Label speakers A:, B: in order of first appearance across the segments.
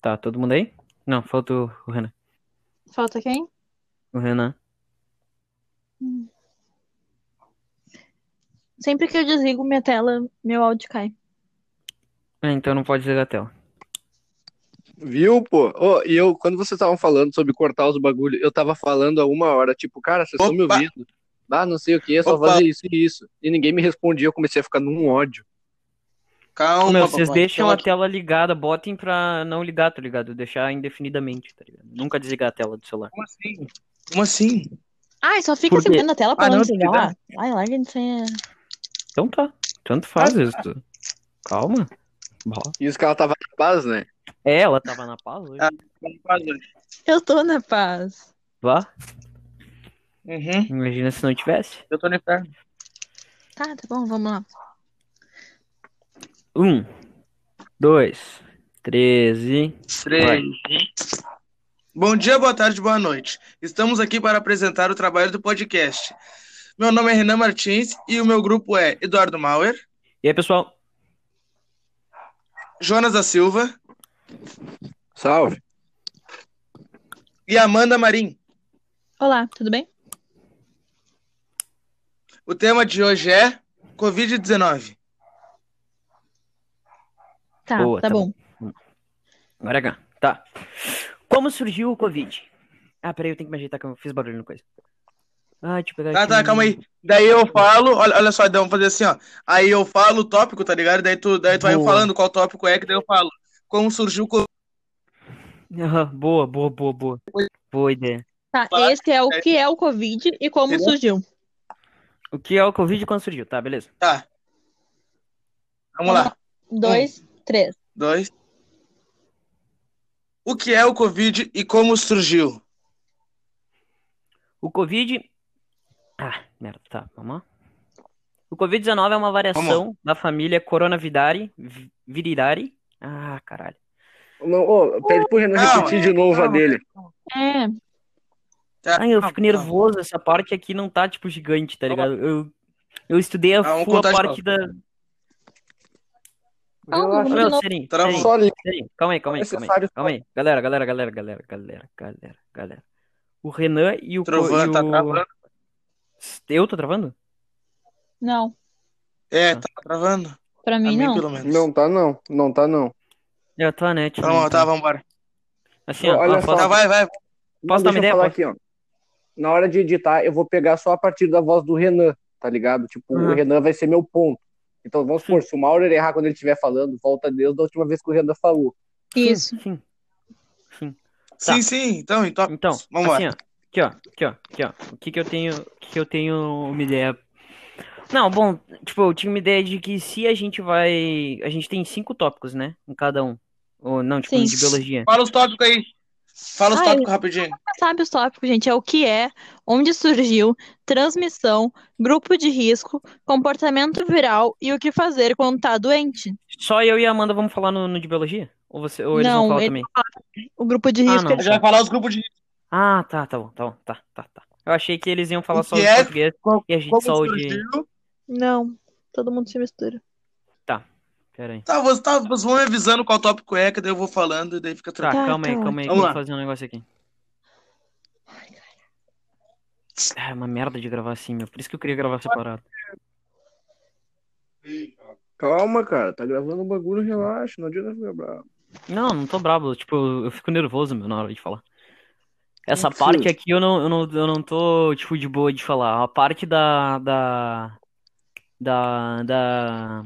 A: Tá, todo mundo aí? Não, falta o o Renan.
B: Falta quem?
A: O Renan.
B: Sempre que eu desligo minha tela, meu áudio cai.
A: É, então não pode desligar a tela.
C: Viu, pô? Ô, e eu, quando vocês estavam falando sobre cortar os bagulhos, eu tava falando há uma hora, tipo, cara, vocês estão me
D: Opa!
C: ouvindo? Ah, não sei o que, só
D: Opa!
C: fazer isso e isso. E ninguém me respondia, eu comecei a ficar num ódio.
D: Calma,
A: Meu, vocês
D: papai.
A: deixam
D: Tela
A: a tela ligada, botem pra não ligar, tá ligado? Deixar indefinidamente, tá ligado? Nunca desligar a tela do celular.
D: Como assim? Como assim?
B: Ai, só fica
A: Por quê?
B: segurando a tela pra
D: Ah,
B: não
D: não,
B: desligar. Ai, larga de ser.
A: Então tá, tanto faz isso. tu- Calma. Bom.
C: Isso que ela tava na paz, né?
A: É, ela tava na paz hoje.
D: Ah.
B: Eu tô na paz.
A: Vá,
D: Uhum.
A: imagina se não tivesse.
D: Eu tô no inferno.
B: Tá, tá bom, vamos lá.
A: Um, dois, três e... Vai.
D: Três. Bom dia, boa tarde, boa noite. Estamos aqui para apresentar o trabalho do podcast. Meu nome é Renan Martins e o meu grupo é Eduardo Mauer,
A: E aí, pessoal?
D: Jonas da Silva
C: Salve.
D: e Amanda Marim.
B: Olá, tudo bem?
D: O tema de hoje é Covid-19.
B: Tá,
A: Boa,
B: tá
A: tá
B: bom.
A: Agora cá. Tá. Como surgiu o Covid? Ah, peraí, eu tenho que me ajeitar que eu fiz barulho no coisa. Ah, deixa eu pegar
D: Tá,
A: aqui
D: tá,
A: um-
D: calma aí. Daí eu falo, olha, olha só, então vamos fazer assim, ó. Aí eu falo o tópico, tá ligado? Daí tu, daí tu vai
A: Boa.
D: falando qual tópico é, que daí eu falo. Como surgiu o Covid.
A: Aham, boa, boa, boa, boa. Boa ideia.
B: Tá,
D: Vai.
B: esse é o que é o Covid e como
D: Entendeu?
B: surgiu.
A: O que é o Covid e quando surgiu? Tá, beleza.
D: Tá. Vamos lá.
B: Dois,
D: É.
B: três.
D: Dois. O que é o Covid e como surgiu?
A: O Covid. Ah, merda, tá, vamos lá. O Covid-19 é uma variação da família Coronavirare. vi- Virirare. Ah, caralho.
C: Não, ô, pede pro Renan
D: Não,
C: repetir de novo a
D: calma.
C: dele.
B: É,
D: Tá.
A: Ai, eu
D: Calma,
A: fico nervoso, essa parte aqui não tá, tipo, gigante, tá ligado? Eu, eu estudei a
D: Ah, vamos
A: full a
D: contar de
A: parte da.
B: Calma, vamos
A: Meu,
B: de novo.
A: serinho,
D: Travou.
A: serinho.
C: Só li-
A: Peraí, calma aí, calma aí, calma aí,
C: Necessário
A: calma aí. Galera, galera, galera, galera, galera, galera, galera. O Renan e o... co- e
D: Trovando, tá
A: o-
D: travando.
A: Eu tô travando?
B: Não,
A: Ah.
D: É, tá travando.
B: pra
D: A
B: mim
D: mim,
B: não.
D: pelo menos.
C: Não tá não, não tá não.
A: Eu tô, né? Tipo,
D: Então, ó, tá, vambora.
A: Assim, ó,
C: Olha
A: ó,
C: só.
A: posso-
D: Tá, vai, vai.
A: Posso dar uma
C: Deixa eu
A: ideia?
C: falar
A: Posso?
C: aqui, ó. Na hora de editar, eu vou pegar só a partir da voz do Renan, tá ligado? Tipo,
A: Uhum.
C: o Renan vai ser meu ponto. Então vamos supor, se o Maurer errar quando ele estiver falando, volta a Deus da última vez que o Renan falou.
B: Isso.
A: Sim.
D: Sim, sim, então, então.
A: Então,
D: Vambora.
A: assim, ó. Aqui, ó. Aqui, ó. Aqui, ó. O que que eu tenho... O que que eu tenho uma ideia... Não, bom, tipo, eu tinha uma ideia de que se a gente vai... A gente tem cinco tópicos, né? Em cada um. Ou não, tipo,
B: Sim.
A: de biologia.
D: Fala os tópicos aí. Fala os
B: Ai.
D: tópicos rapidinho.
B: Sabe os tópicos, gente? É o que é, onde surgiu, transmissão, grupo de risco, comportamento viral e o que fazer quando tá doente.
A: Só eu e a Amanda vamos falar no, no de biologia? Ou, você, ou eles
B: Não,
A: vão falar
B: ele-
A: também?
B: O grupo de
A: Ah,
B: risco
A: não.
B: é
D: Já vai falar os grupos de
A: Ah, tá, tá bom, tá bom, tá, tá, tá. Eu achei que eles iam falar
D: O
A: só
D: que
A: de
D: é?
A: português
D: Co-
A: e a gente
D: como
A: só o de.
D: surgiu.
B: Não, todo mundo se mistura.
A: Pera aí.
D: Tá, vocês tá, vocês vão me avisando qual tópico é, que daí eu vou falando e daí fica
A: Tá,
D: tranquilo.
A: calma aí,
B: tá
A: calma aí, que eu
D: Vamos
A: vou
D: lá.
A: fazer um negócio aqui. Ah, é uma merda de gravar assim, meu. Por isso que eu queria gravar separado.
C: Calma, cara, tá gravando o bagulho, relaxa, não adianta ficar bravo.
A: Não, não tô brabo. Tipo, eu eu fico nervoso, meu, na hora de falar. Essa
C: Não precisa.
A: parte aqui eu não, eu não, eu não tô, tipo, de boa de falar. A parte da. Da. Da. da-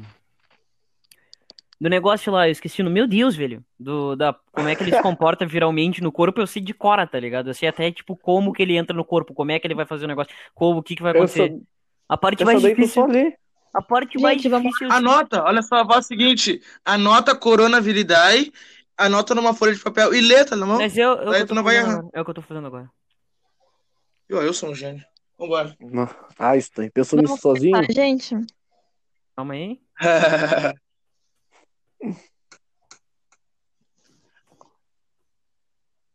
A: Do negócio lá, eu esqueci no. Meu Deus, velho. Do, da, como é que ele se comporta viralmente no corpo, eu sei de cora, tá ligado? Eu sei até, tipo, como que ele entra no corpo, como é que ele vai fazer o negócio, como, o que, que vai
C: Eu só,
A: acontecer. Tipo, A parte
C: eu só
A: mais
C: dei pra só
A: difícil.
C: ler.
A: A parte mais
B: Gente, vamos-
D: Ah,
A: difícil.
D: Anota, olha só, faz o seguinte: anota Coronaviridae, anota numa folha de papel e letra na mão.
A: Mas eu, é o que
D: Daí
A: eu
D: tu
A: tô
D: não vai
A: fazendo
D: errar.
A: agora. É o que eu tô fazendo agora.
D: Eu, eu sou um gênio. Vambora.
C: Não. Ah, Einstein, pensou nisso
A: tá
B: Não,
C: sozinho?
B: Ah, gente,
A: Calma aí.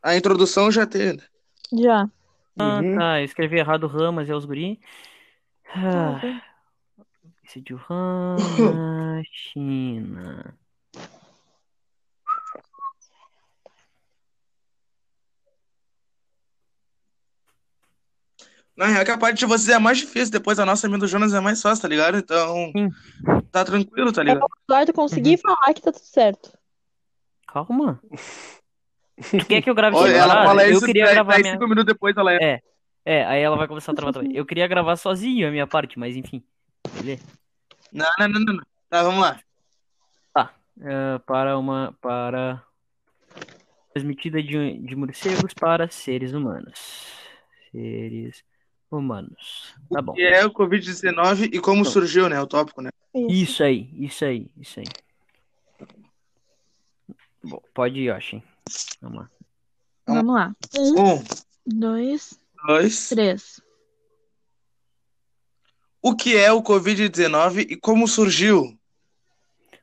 D: A introdução já tem. né?
B: já.
A: Ah,
C: Uhum.
A: tá. Eu escrevi errado Ramas e é os guri. Ah,
B: Tá,
A: esse de Wuhan, China.
D: Na real, que a parte de vocês é mais difícil, depois a nossa a minha do Jonas é mais fácil, tá ligado? Então,
A: Sim.
D: tá tranquilo, tá
B: É
D: ligado?
B: pra Eduardo conseguir
A: Uhum.
B: falar que tá tudo certo.
A: Calma. Tu quer que eu grave
D: Olha, ela
A: separado?
D: fala
A: eu
D: isso,
A: queria
D: daí,
A: gravar
D: daí
A: minha...
D: cinco minutos depois ela é.
A: É, aí ela vai começar a travar também. Eu queria gravar sozinho a minha parte, mas enfim. Beleza?
D: Não, não, não, não, não. Tá, vamos lá.
A: Ah, para uma... Para... Transmitida de, de morcegos para seres humanos. Seres humanos. Tá bom.
D: Que é o Covid-19 e como
A: Então.
D: surgiu, né? O tópico, né?
A: Isso aí, isso aí, isso aí. Bom, pode ir, Yoshin. Vamos lá.
B: Vamos lá. Um,
D: Um,
B: dois,
D: dois.
B: três.
D: O que é o Covid-19 e como surgiu?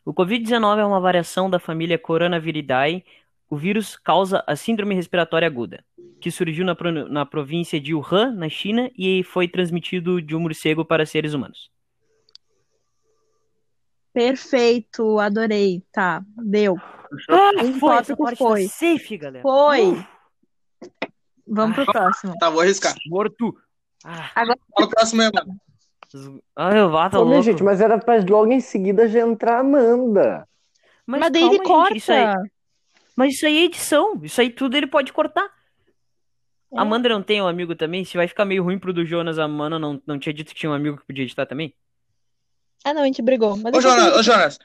A: O Covid-19 é uma variação da família Coronaviridae. O vírus causa a síndrome respiratória aguda, que surgiu na, pro- na província de Wuhan, na China, e foi transmitido de um morcego para seres humanos.
B: Perfeito, adorei. Tá, deu.
A: Ah,
B: Um foi, essa tópico parte tá foi.
A: safe, galera.
B: Foi. Vamos pro próximo.
D: Tá, vou arriscar.
A: Morto. Ah,
D: Fala o próximo aí, mano.
A: z- ah, eu vá, tá
E: Ô,
B: né,
E: minha
A: louco.
E: gente, mas era pra logo em seguida já entrar a Amanda.
A: Mas
B: Mas, daí ele
A: calma,
B: corta.
A: gente, isso aí- mas isso aí é edição. Isso aí tudo ele pode cortar.
B: É.
A: A Amanda não tem um amigo também? Se vai ficar meio ruim pro do Jonas, a Amanda não, não tinha dito que tinha um amigo que podia editar também?
B: Ah, não, a gente brigou. Mas
D: Ô,
B: deixa eu
D: Jonas,
B: ver.
D: ô, Jonas.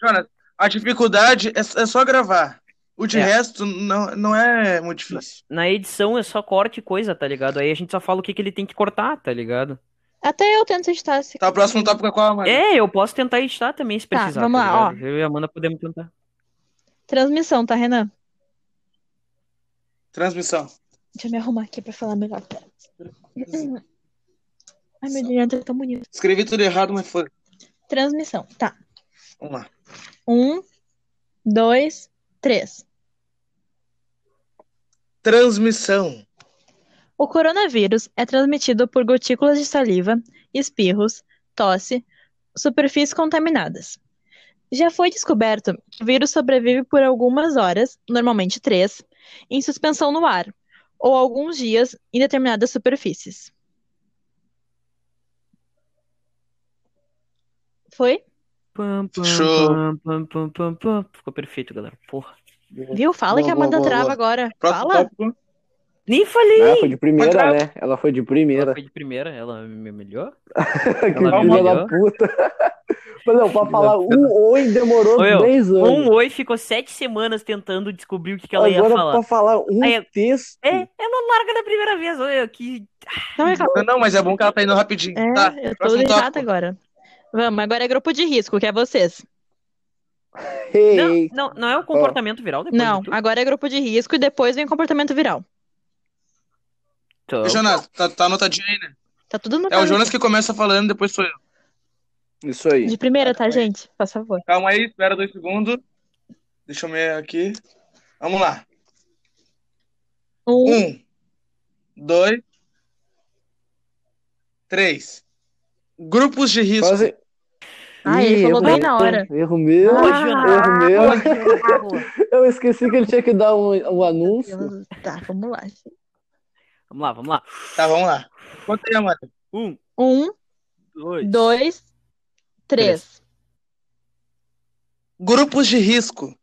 D: Jonas, a dificuldade é, é só gravar. O de
A: É.
D: resto não, não é muito difícil.
A: Na edição é só corte e coisa, tá ligado? Aí a gente só fala o que, que ele tem que cortar, tá ligado?
B: Até eu tento editar esse.
D: Tá, o próximo tópico é qual, mano?
A: É, eu posso tentar editar também se
B: Tá,
A: precisar.
B: vamos
A: tá
B: lá,
A: ligado? Eu e a Amanda podemos tentar.
B: Transmissão, tá, Renan?
D: Transmissão.
B: Deixa eu me arrumar aqui pra falar melhor. Ai, meu dinheiro tá tão bonito.
D: Escrevi tudo errado, mas foi.
B: Transmissão, tá.
D: Vamos lá.
B: Um, dois, três.
D: Transmissão.
B: O coronavírus é transmitido por gotículas de saliva, espirros, tosse, superfícies contaminadas. Já foi descoberto que o vírus sobrevive por algumas horas, normalmente três, em suspensão no ar, ou alguns dias em determinadas superfícies. Foi?
A: Pam, pam,
D: Show.
A: pam, pam, pam, pam, pam. Ficou perfeito, galera. Porra.
B: Viu? Fala
E: Boa,
B: que a
E: boa,
B: Amanda
E: boa,
B: trava
E: boa.
B: agora.
D: Próximo
B: Fala.
D: tópico.
A: Nem falei!
E: Ela foi de primeira,
D: Mas ela-
E: né? Ela foi de
A: Ela
E: primeira.
A: foi de primeira, ela é me melhor.
E: que
A: ela
E: filha
A: melhorou.
E: da puta. Mas não, pra falar um oi demorou
A: Ô, meu,
E: 10 anos.
A: Um oi ficou sete semanas tentando descobrir o que, que ela ia
E: Agora
A: falar.
E: pra falar um
A: Aí,
E: texto.
A: É, ela larga da primeira vez. Olha, que.
B: Não, é calma.
D: Não, não, mas é bom que ela tá indo rapidinho.
B: É,
D: Tá,
B: eu tô
D: próximo
B: irritada
D: tópico.
B: agora. Vamos, agora é grupo de risco, que é vocês.
E: Ei,
A: Não, não, não é o comportamento viral depois
B: Não,
A: de tudo?
B: agora é grupo de risco e depois vem comportamento viral.
A: Então,
D: Ô, Jonas, tá, tá anotadinho aí, né?
B: Tá tudo no
D: É o Jonas que começa falando, depois sou eu.
E: Isso aí.
B: De primeira, tá, gente? Por favor.
D: Calma aí, espera dois segundos. Deixa eu ver aqui. Vamos lá.
B: Um,
D: Um, dois, três. Grupos de risco.
E: Quase...
B: Ah, ele
E: Ih,
B: falou
E: erro
B: bem
E: meu,
B: na hora.
E: Erro
B: Ah,
E: meu,
A: Boa,
E: erro
A: Jonas.
E: meu.
A: Boa, Jonas.
E: Eu esqueci que ele tinha que dar um, um anúncio.
B: tá, vamos lá. gente.
A: Vamos lá, vamos lá.
D: Tá, vamos lá. Conta aí, Amanda.
A: Um,
B: Um,
A: dois.
B: dois, três.
D: Grupos de risco.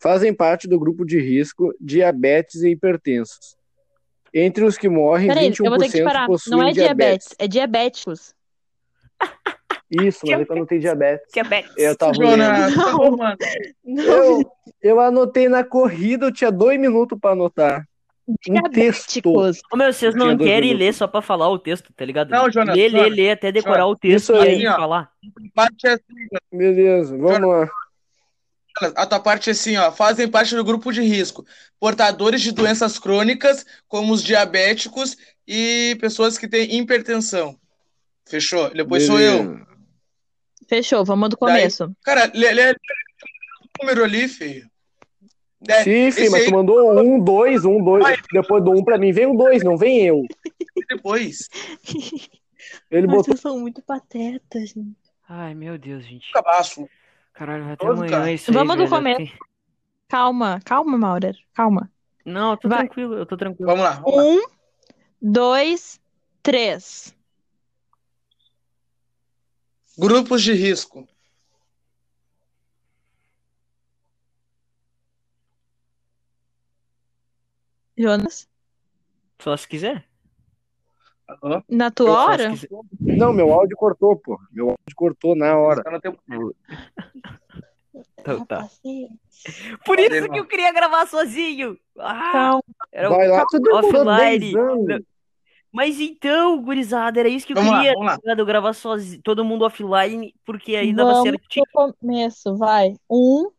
E: Fazem parte do grupo de risco diabetes e hipertensos. Entre os que morrem,
B: Peraí, eu vou ter que
E: 21%
B: parar.
E: possuem
B: Não é
E: diabetes.
B: diabetes, é diabéticos.
E: Isso, mas é que eu não tenho diabetes.
A: Diabetes.
E: Eu tava lendo.
D: Jonas, tá bom, mano.
E: Eu, eu anotei na corrida, eu tinha dois minutos pra anotar. Um texto.
B: Diabéticos.
A: Ô, meu, vocês
E: Tinha
A: não
E: dois
A: querem
E: minutos.
A: ler só pra falar o texto, tá ligado?
D: Não, Jonas,
A: Lê, lê,
D: Jonas,
A: lê até decorar o texto
E: Isso
A: e
E: aí,
A: aí
D: ó.
A: falar.
D: Parte é assim,
E: Beleza, vamos lá.
D: Jonas, a tua parte é assim, ó. Fazem parte do grupo de risco. Portadores de doenças crônicas, como os diabéticos e pessoas que têm hipertensão. Fechou? Depois sou eu.
E: Beleza.
B: Fechou, vamos do começo.
D: Cara, lê, lê, lê o número ali, filho. É,
E: Sim, filho,
D: esse
E: mas
D: aí
E: tu mandou um, dois, um, dois.
D: Vai.
E: Depois do um pra mim, vem o dois, não vem eu.
D: depois.
E: Ele botou.
B: Vocês são muito patetas, gente.
A: Ai, meu Deus, gente.
D: Cabaço.
A: Caralho, vai até
D: Todo,
A: amanhã
D: cara.
A: isso aí,
B: Vamos do
A: velho.
B: começo. Calma, calma, Maurer. Calma.
A: Não, eu tô
B: Vai.
A: tranquilo, eu tô tranquilo.
D: Vamos lá. vamos lá.
B: Um, dois, três.
D: Grupos de risco.
B: Jonas,
A: Só se quiser.
C: Alô?
B: na tua
A: Só se
B: hora?
A: quiser.
E: Não, meu áudio cortou, pô. Meu áudio cortou na hora.
D: Tá no tempo.
A: Então tá.
B: Rapaziada,
A: Por
D: Valeu,
A: isso que
D: irmão.
A: eu queria gravar sozinho. Ah,
B: Calma.
A: era
E: Vai lá, tu demorou
A: offline.
E: 10 anos.
A: Mas então, gurizada, era isso que eu
D: Vamos lá,
A: queria,
D: vamos lá.
A: tá ligado? Eu gravar sozinho, todo mundo offline, porque aí dava
B: Vamos
A: certinho.
B: pro começo, vai. Um,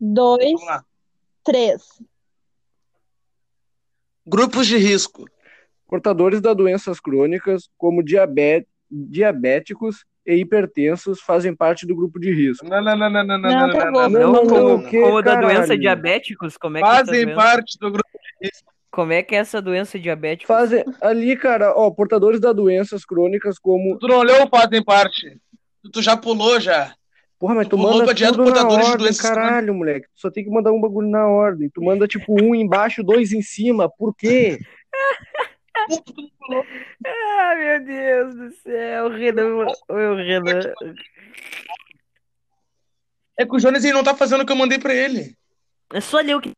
B: dois,
D: Vamos lá.
B: três.
D: Grupos de risco.
E: Portadores da doenças crônicas, como diabe- diabéticos e hipertensos, fazem parte do grupo de risco.
D: Não, não, não, não,
B: Não,
D: não, não,
B: tá
D: não, não,
B: bom.
D: não,
A: Não,
E: Não,
D: não,
A: como,
E: o
D: não.
E: quê,
A: como da
E: caralho?
A: doença diabéticos, como é que essa
D: Fazem
A: doença,
D: parte do grupo.
A: como é que é essa doença diabética?
E: Fazem ali, cara, ó, portadores da doenças crônicas como.
D: Tu não olhou o fazem parte. Tu- Tu já pulou já.
E: Porra, mas tu
D: Pulou
E: manda
D: pra dieta
E: tudo na
D: portadores de
E: ordem,
D: doenças
E: caralho, moleque. Tu só tem que mandar um bagulho na ordem. Tu manda tipo um embaixo, dois em cima. Por quê?
A: Ah, meu Deus do céu, o Renan, o Renan.
D: É que o Jonas ele não tá fazendo o que eu mandei pra ele.
A: É só ler o que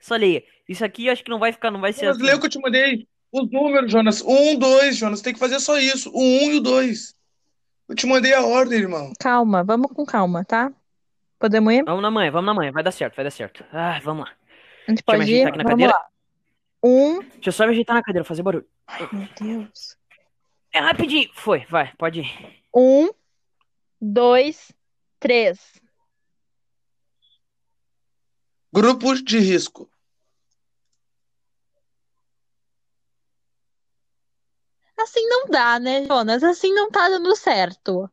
A: só leia. Isso aqui eu acho que não vai ficar, não vai ser
D: Jonas,
A: assim.
D: lê o que eu te mandei. Os números, Jonas. Um, dois, Jonas. Tem que fazer só isso. O um e o dois. Eu te mandei a ordem, irmão.
B: Calma, vamos com calma, tá? Podemos ir?
A: Vamos na manhã, vamos na manhã, vai dar certo, vai dar certo. Ah, vamos lá. Deixa
B: A gente
A: eu me
B: pode
A: ajeitar
B: ir?
A: aqui na
B: Vamos
A: cadeira.
B: lá. Um,
A: Deixa eu só me ajeitar na cadeira, fazer barulho.
B: meu Deus.
A: É rapidinho. Foi, vai, pode ir.
B: Um, dois, três.
D: Grupos de risco.
B: Assim não dá, né, Jonas? Assim não tá dando certo.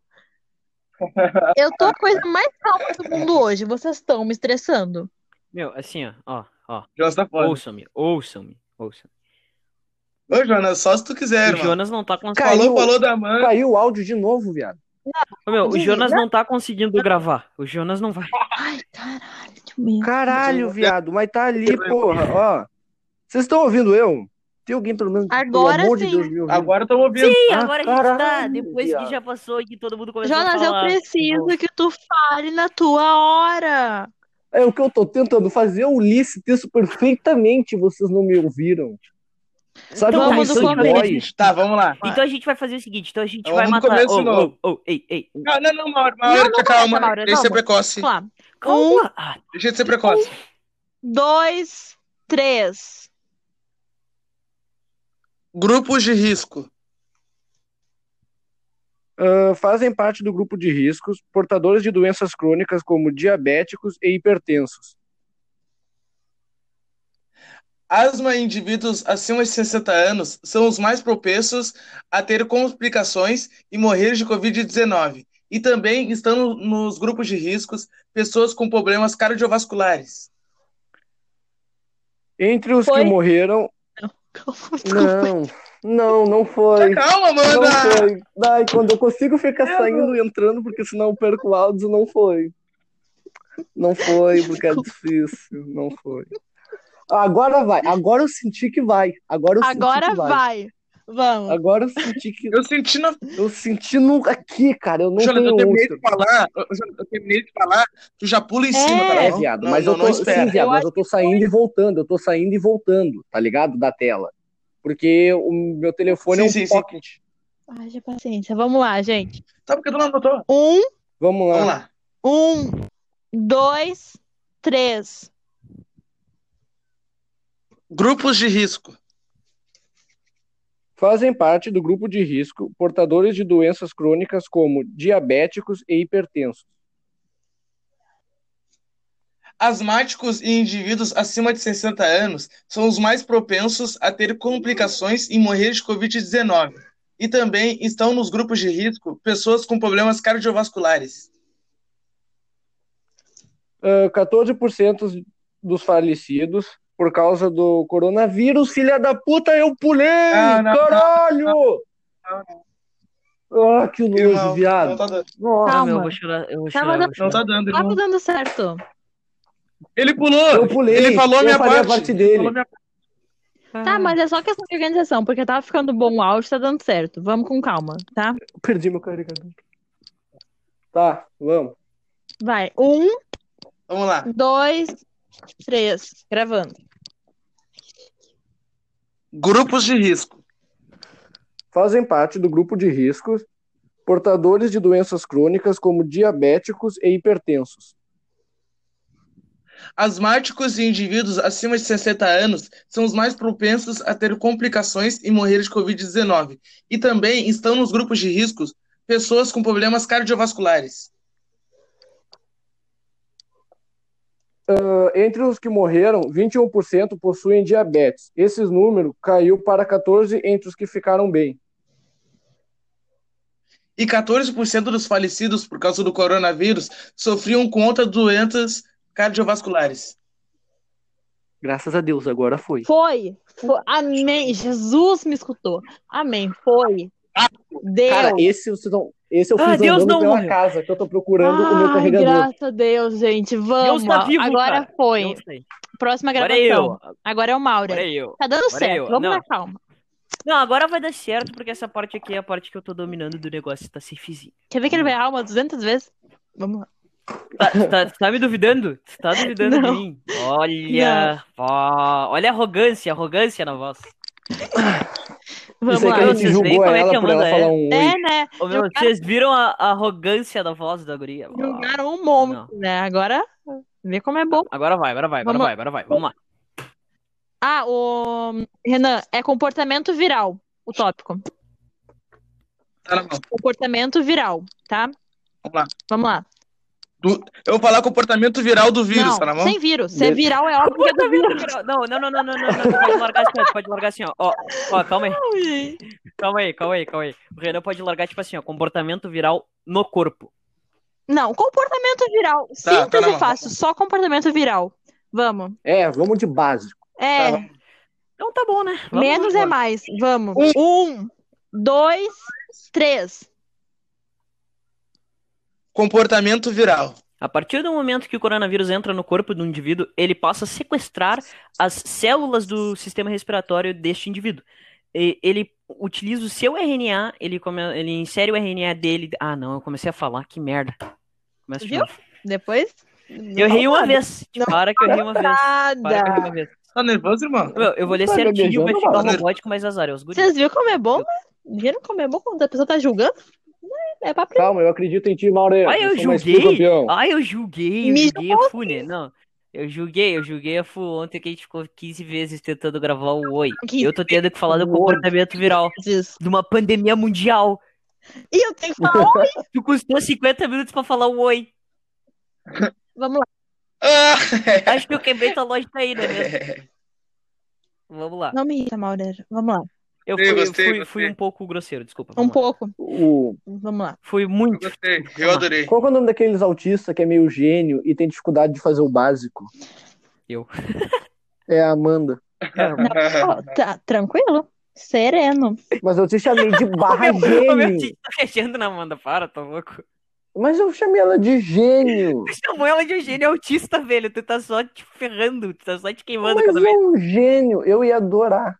B: Eu tô a coisa mais calma do mundo hoje. Vocês estão me estressando.
A: Meu, assim, ó, ó, ó.
D: Jonas tá fora.
A: Ouçam-me, ouçam-me, ouçam.
D: Ô, Jonas, só se tu quiser,
A: O
D: irmão.
A: Jonas não tá conseguindo.
D: Falou,
E: Caiu.
D: falou da mãe.
E: Caiu o áudio de novo, viado.
A: Meu, o
B: Diz,
A: Jonas não tá conseguindo gravar. O Jonas não vai.
B: Ai, caralho, meu.
E: Caralho, viado, mas tá ali, porra, ó. Vocês estão ouvindo eu? Tem alguém pelo menos,
B: Agora
E: pelo amor de
B: sim.
E: Deus, me ouvindo?
D: Agora estamos ouvindo.
A: Ih,
E: Ah,
A: agora a gente tá.
E: caralho,
A: Depois que
E: viado.
A: já passou e que todo mundo começou a
B: Jonas, eu
A: falar. tipo,
B: preciso que tu fale na tua hora.
E: É o que eu tô tentando fazer, eu li esse texto perfeitamente, vocês não me ouviram. Sabe
A: tá,
B: Então,
E: como
B: vamos
E: isso
B: do começo.
E: dói?
D: Tá, vamos lá.
A: Então a gente vai fazer o seguinte, então a gente
D: Vamos
A: vai
D: no
A: matar.
D: começo de
A: Ô,
D: novo.
A: ô, ô, ei, ei.
D: Não, não, não, Mauro. Mauro,
B: Não, não
D: calma.
B: começa, Mauro,
D: Deixa de ser
B: vamos.
D: precoce.
B: Vamos lá.
A: Calma. Ah,
D: Deixa de ser precoce.
B: Dois, três.
D: Grupos de risco.
E: Ah, fazem parte do grupo de riscos portadores de doenças crônicas como diabéticos e hipertensos.
D: Asma em indivíduos acima de 60 anos são os mais propensos a ter complicações e morrer de Covid-19. E também estão nos grupos de riscos pessoas com problemas cardiovasculares.
E: Entre os
B: Foi?
E: que morreram. Não, não, não foi.
D: Tá, Calma,
E: Não
D: Amanda!
E: foi. Ai, quando eu consigo ficar saindo e entrando, porque senão eu perco o áudio, não foi. Não foi, porque é difícil. Não foi. Agora vai. Agora eu senti que vai. Agora eu senti
B: Agora
E: que vai.
B: vai. Vamos.
E: Agora eu senti que.
D: Eu senti na
E: Eu senti no... aqui, cara. Eu não
D: Jonas,
E: tenho
D: eu terminei
E: úlcera.
D: de falar, eu, eu- eu terminei de falar, tu já pula em cima,
B: É.
D: tá
E: É,
D: bom?
E: viado,
D: Não,
E: mas
D: não,
E: eu tô,
D: não
E: sim,
D: espera.
E: viado,
B: Eu
E: mas
B: acho
E: eu tô saindo e voltando, eu tô saindo e voltando, tá ligado? Da tela. Porque o meu telefone é
D: Sim,
E: um
D: sim, sim.
E: pocket.
B: Haja paciência. Vamos lá, gente.
D: Tá, porque tu não anotou.
B: Um,
E: Vamos lá.
D: Vamos lá.
B: um, dois, três.
D: Grupos de risco.
E: Fazem parte do grupo de risco portadores de doenças crônicas como diabéticos e hipertensos.
D: Asmáticos e indivíduos acima de 60 anos são os mais propensos a ter complicações e morrer de Covid-19. E também estão nos grupos de risco pessoas com problemas cardiovasculares.
E: Ah, 14% dos falecidos por causa do coronavírus, filha da puta, eu pulei!
D: Ah, não,
E: Caralho!
D: não,
E: Ah, que nojo,
D: Irmão,
E: viado.
D: Não tá dando,
E: Nossa.
A: Ah, meu, eu
B: Calma.
A: vou chorar, eu vou
B: Tava
A: chorar, eu
B: da-
A: vou
D: não
A: chorar.
D: tá dando,
B: Tava
D: irmão.
B: dando certo.
D: Ele pulou!
E: Eu pulei,
D: Ele falou a
E: eu
D: minha
E: falei a
D: parte.
E: parte dele.
D: Ele falou a minha-
B: Tá, mas é só questão de organização, porque tava ficando bom o áudio, tá dando certo. Vamos com calma, tá?
E: Perdi meu carregador. Tá, vamos.
B: Vai. Um,
D: Vamos lá.
B: dois, três. Gravando.
D: Grupos de risco.
E: Fazem parte do grupo de riscos portadores de doenças crônicas como diabéticos e hipertensos.
D: Asmáticos e indivíduos acima de 60 anos são os mais propensos a ter complicações e morrer de Covid-19. E também estão nos grupos de riscos pessoas com problemas cardiovasculares.
E: Entre os que morreram, 21% possuem diabetes. Esse número caiu para 14% entre os que ficaram bem.
D: E 14% dos falecidos por causa do coronavírus sofriam com outras doenças cardiovasculares.
E: Graças a Deus, agora foi.
B: Foi. Foi. Amém. Jesus me escutou. Amém. Foi. Deus.
E: Cara, esse, vocês não, esse eu fiz
A: Ah,
E: andando
A: Deus não
E: pela
A: morreu.
E: casa, que eu tô procurando o meu
B: Ai,
E: carregador.
B: graças a Deus, gente.
A: Deus
B: Vamos.
A: tá vivo,
B: Agora
A: cara.
B: foi.
A: Deus tá aí.
B: Próxima
A: Agora
B: gravação.
A: é eu.
B: Agora é o Mauro.
A: Agora é eu.
B: Tá dando
A: Agora é
B: certo.
A: eu.
B: Vamos
A: Não.
B: na calma.
A: Não, agora vai dar certo, porque essa parte aqui é a parte que eu tô dominando do negócio, tá safezinho.
B: Quer ver que ele vai errar umas 200 vezes? Vamos lá.
A: Tá, tu tá, tu tá me duvidando? Tu tá duvidando
B: Não.
A: de mim? Olha, ó, olha a arrogância, a arrogância na voz.
B: Vamos
E: Isso aí
B: lá.
E: que a
A: Vocês
E: gente
A: veem
E: julgou
A: como é
E: ela
A: que eu
E: por
A: mando,
E: ela
A: é?
E: falar um oi.
B: É, né?
A: Ô, meu,
B: Eu quero-
A: vocês viram a, a arrogância da voz da guria?
B: Julgaram um monte,
A: Não.
B: né? Agora, vê como é bom.
A: Agora vai, agora vai, agora
B: Vamos-
A: vai, agora vai. Vamos lá.
B: Ah, o... Renan, é comportamento viral o tópico.
D: Tá na mão.
B: Comportamento viral, tá?
D: Vamos lá.
B: Vamos lá.
D: Eu vou falar comportamento viral do vírus,
B: Não,
D: tá na mão?
B: sem vírus. Se é
E: Beleza.
B: viral, é óbvio que é do vírus.
A: Não, não, não, não, não, não, não, tu pode largar assim, ó, tu pode largar assim, ó. Ó, ó, calma aí, calma aí, calma aí, calma aí. O Renan pode largar, tipo assim, ó, comportamento viral no corpo.
B: Não, comportamento viral.
D: Tá, tá
B: Síntese
D: na mão.
B: fácil, só comportamento viral. Vamos.
E: É, vamos de básico.
B: É,
D: Tá, vamos.
A: Então tá bom, né? Vamos
B: menos é
A: embora.
B: mais. Vamos. Um, dois, três.
D: Comportamento viral.
A: A partir do momento que o coronavírus entra no corpo do indivíduo, ele passa a sequestrar as células do sistema respiratório deste indivíduo. E- ele utiliza o seu RNA, ele, come- ele insere o RNA dele. Ah, não, eu comecei a falar, que merda. Começa de
B: Viu?
A: novo.
B: Depois.
A: Eu errei uma vez.
B: Não.
A: Para que eu errei uma vez. Para que eu errei
B: Nada.
A: uma vez.
D: Tá nervoso, irmão?
A: Meu, eu vou ler
E: Tá
A: certinho, vai
E: gaguejando,
A: ficar
D: mano.
A: robótico, mas azar, é os guris.
B: Vocês viram como é bom, né? Viram como é bom quando a pessoa tá julgando? É, é pra aprender.
E: Calma, eu acredito em ti, Maurício.
A: Ai, eu
E: sou mais
A: julguei.
E: que campeão.
A: Ai, eu julguei, eu
B: Me
A: julguei a Fu, né? Não, eu julguei, eu julguei a Fu ontem que a gente ficou 15 vezes tentando gravar o Oi.
B: 15
A: Eu tô tendo que falar do
E: Oi.
A: comportamento viral
B: Diz.
A: de uma pandemia mundial.
B: E eu tenho que falar. um? ó,
A: Tu custou 50 minutos pra falar o Oi.
B: Vamos lá.
D: Ah,
A: Acho que eu quebrei tua loja aí, né mesmo? Vamos lá.
B: Não me irrita, Maurer. Vamos lá.
A: Eu
D: Gostei,
A: fui,
D: gostei,
A: fui,
D: gostei.
A: fui um pouco grosseiro, desculpa.
B: Um
A: vamos lá.
B: pouco.
E: O...
B: Vamos lá.
A: Fui muito.
D: gostei, eu adorei.
E: Qual que é o nome daqueles autistas que é meio gênio e tem dificuldade de fazer o básico?
A: Eu.
E: É a Amanda.
B: Ó, tá tranquilo. Sereno.
E: Mas eu te chamei de barra
A: Ô, meu, ô, meu,
E: gênio.
A: te- tá fechando na Amanda, para, tá louco.
E: Mas eu chamei ela de gênio.
A: Tu chamou ela de gênio autista, velho. Tu tá só te ferrando, tu tá só te queimando
E: Mas
A: cada vez.
E: é um gênio. Eu ia adorar.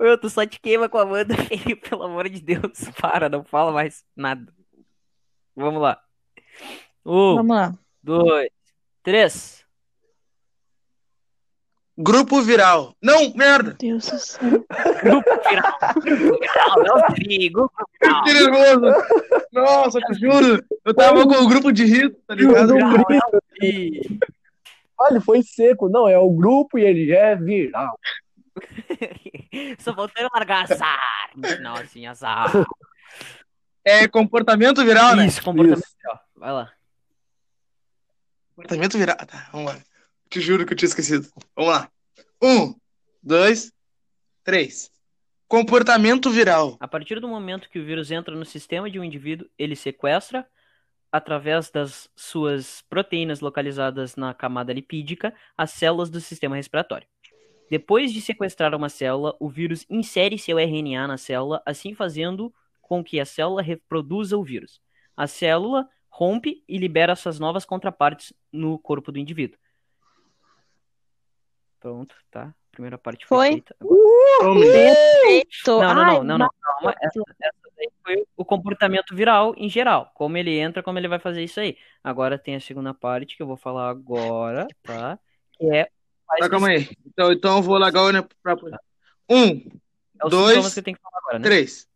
A: Meu, tu só te queima com a Amanda, filho, pelo amor de Deus. Para, não fala mais nada. Vamos lá. Um,
B: Vamos lá.
A: dois, três.
D: Grupo viral. Não, merda.
B: Deus do céu.
A: Grupo viral. Grupo viral, é o perigo. grupo viral.
D: Que nervoso. Nossa, eu juro. Eu tava com o grupo de risco, tá ligado?
A: Grupo viral, é o perigo.
E: Olha, foi seco. Não, é o grupo e ele é viral.
A: Só faltando largar azar. No final, assim, azar.
D: É comportamento viral, né?
A: Isso, comportamento. ó. Vai lá.
D: Comportamento viral. Tá, vamos lá. Te juro que eu tinha esquecido. Vamos lá. Um, dois, três. Comportamento viral.
A: A partir do momento que o vírus entra no sistema de um indivíduo, ele sequestra, através das suas proteínas localizadas na camada lipídica, as células do sistema respiratório. Depois de sequestrar uma célula, o vírus insere seu RNA na célula, assim fazendo com que a célula reproduza o vírus. A célula rompe e libera suas novas contrapartes no corpo do indivíduo. Pronto, tá? primeira parte
B: Foi?
A: feita.
B: Perfeito.
A: Não, não,
B: Ai,
A: não, não, não, calma. Essa, essa daí foi o comportamento viral em geral. Como ele entra, como ele vai fazer isso aí. Agora tem a segunda parte que eu vou falar agora, tá? Que é.
D: Tá, calma aí. Então, então eu vou largar o... pra... Um,
A: É os
D: Dois,
A: sintomas que eu tenho que falar agora, né?
D: três.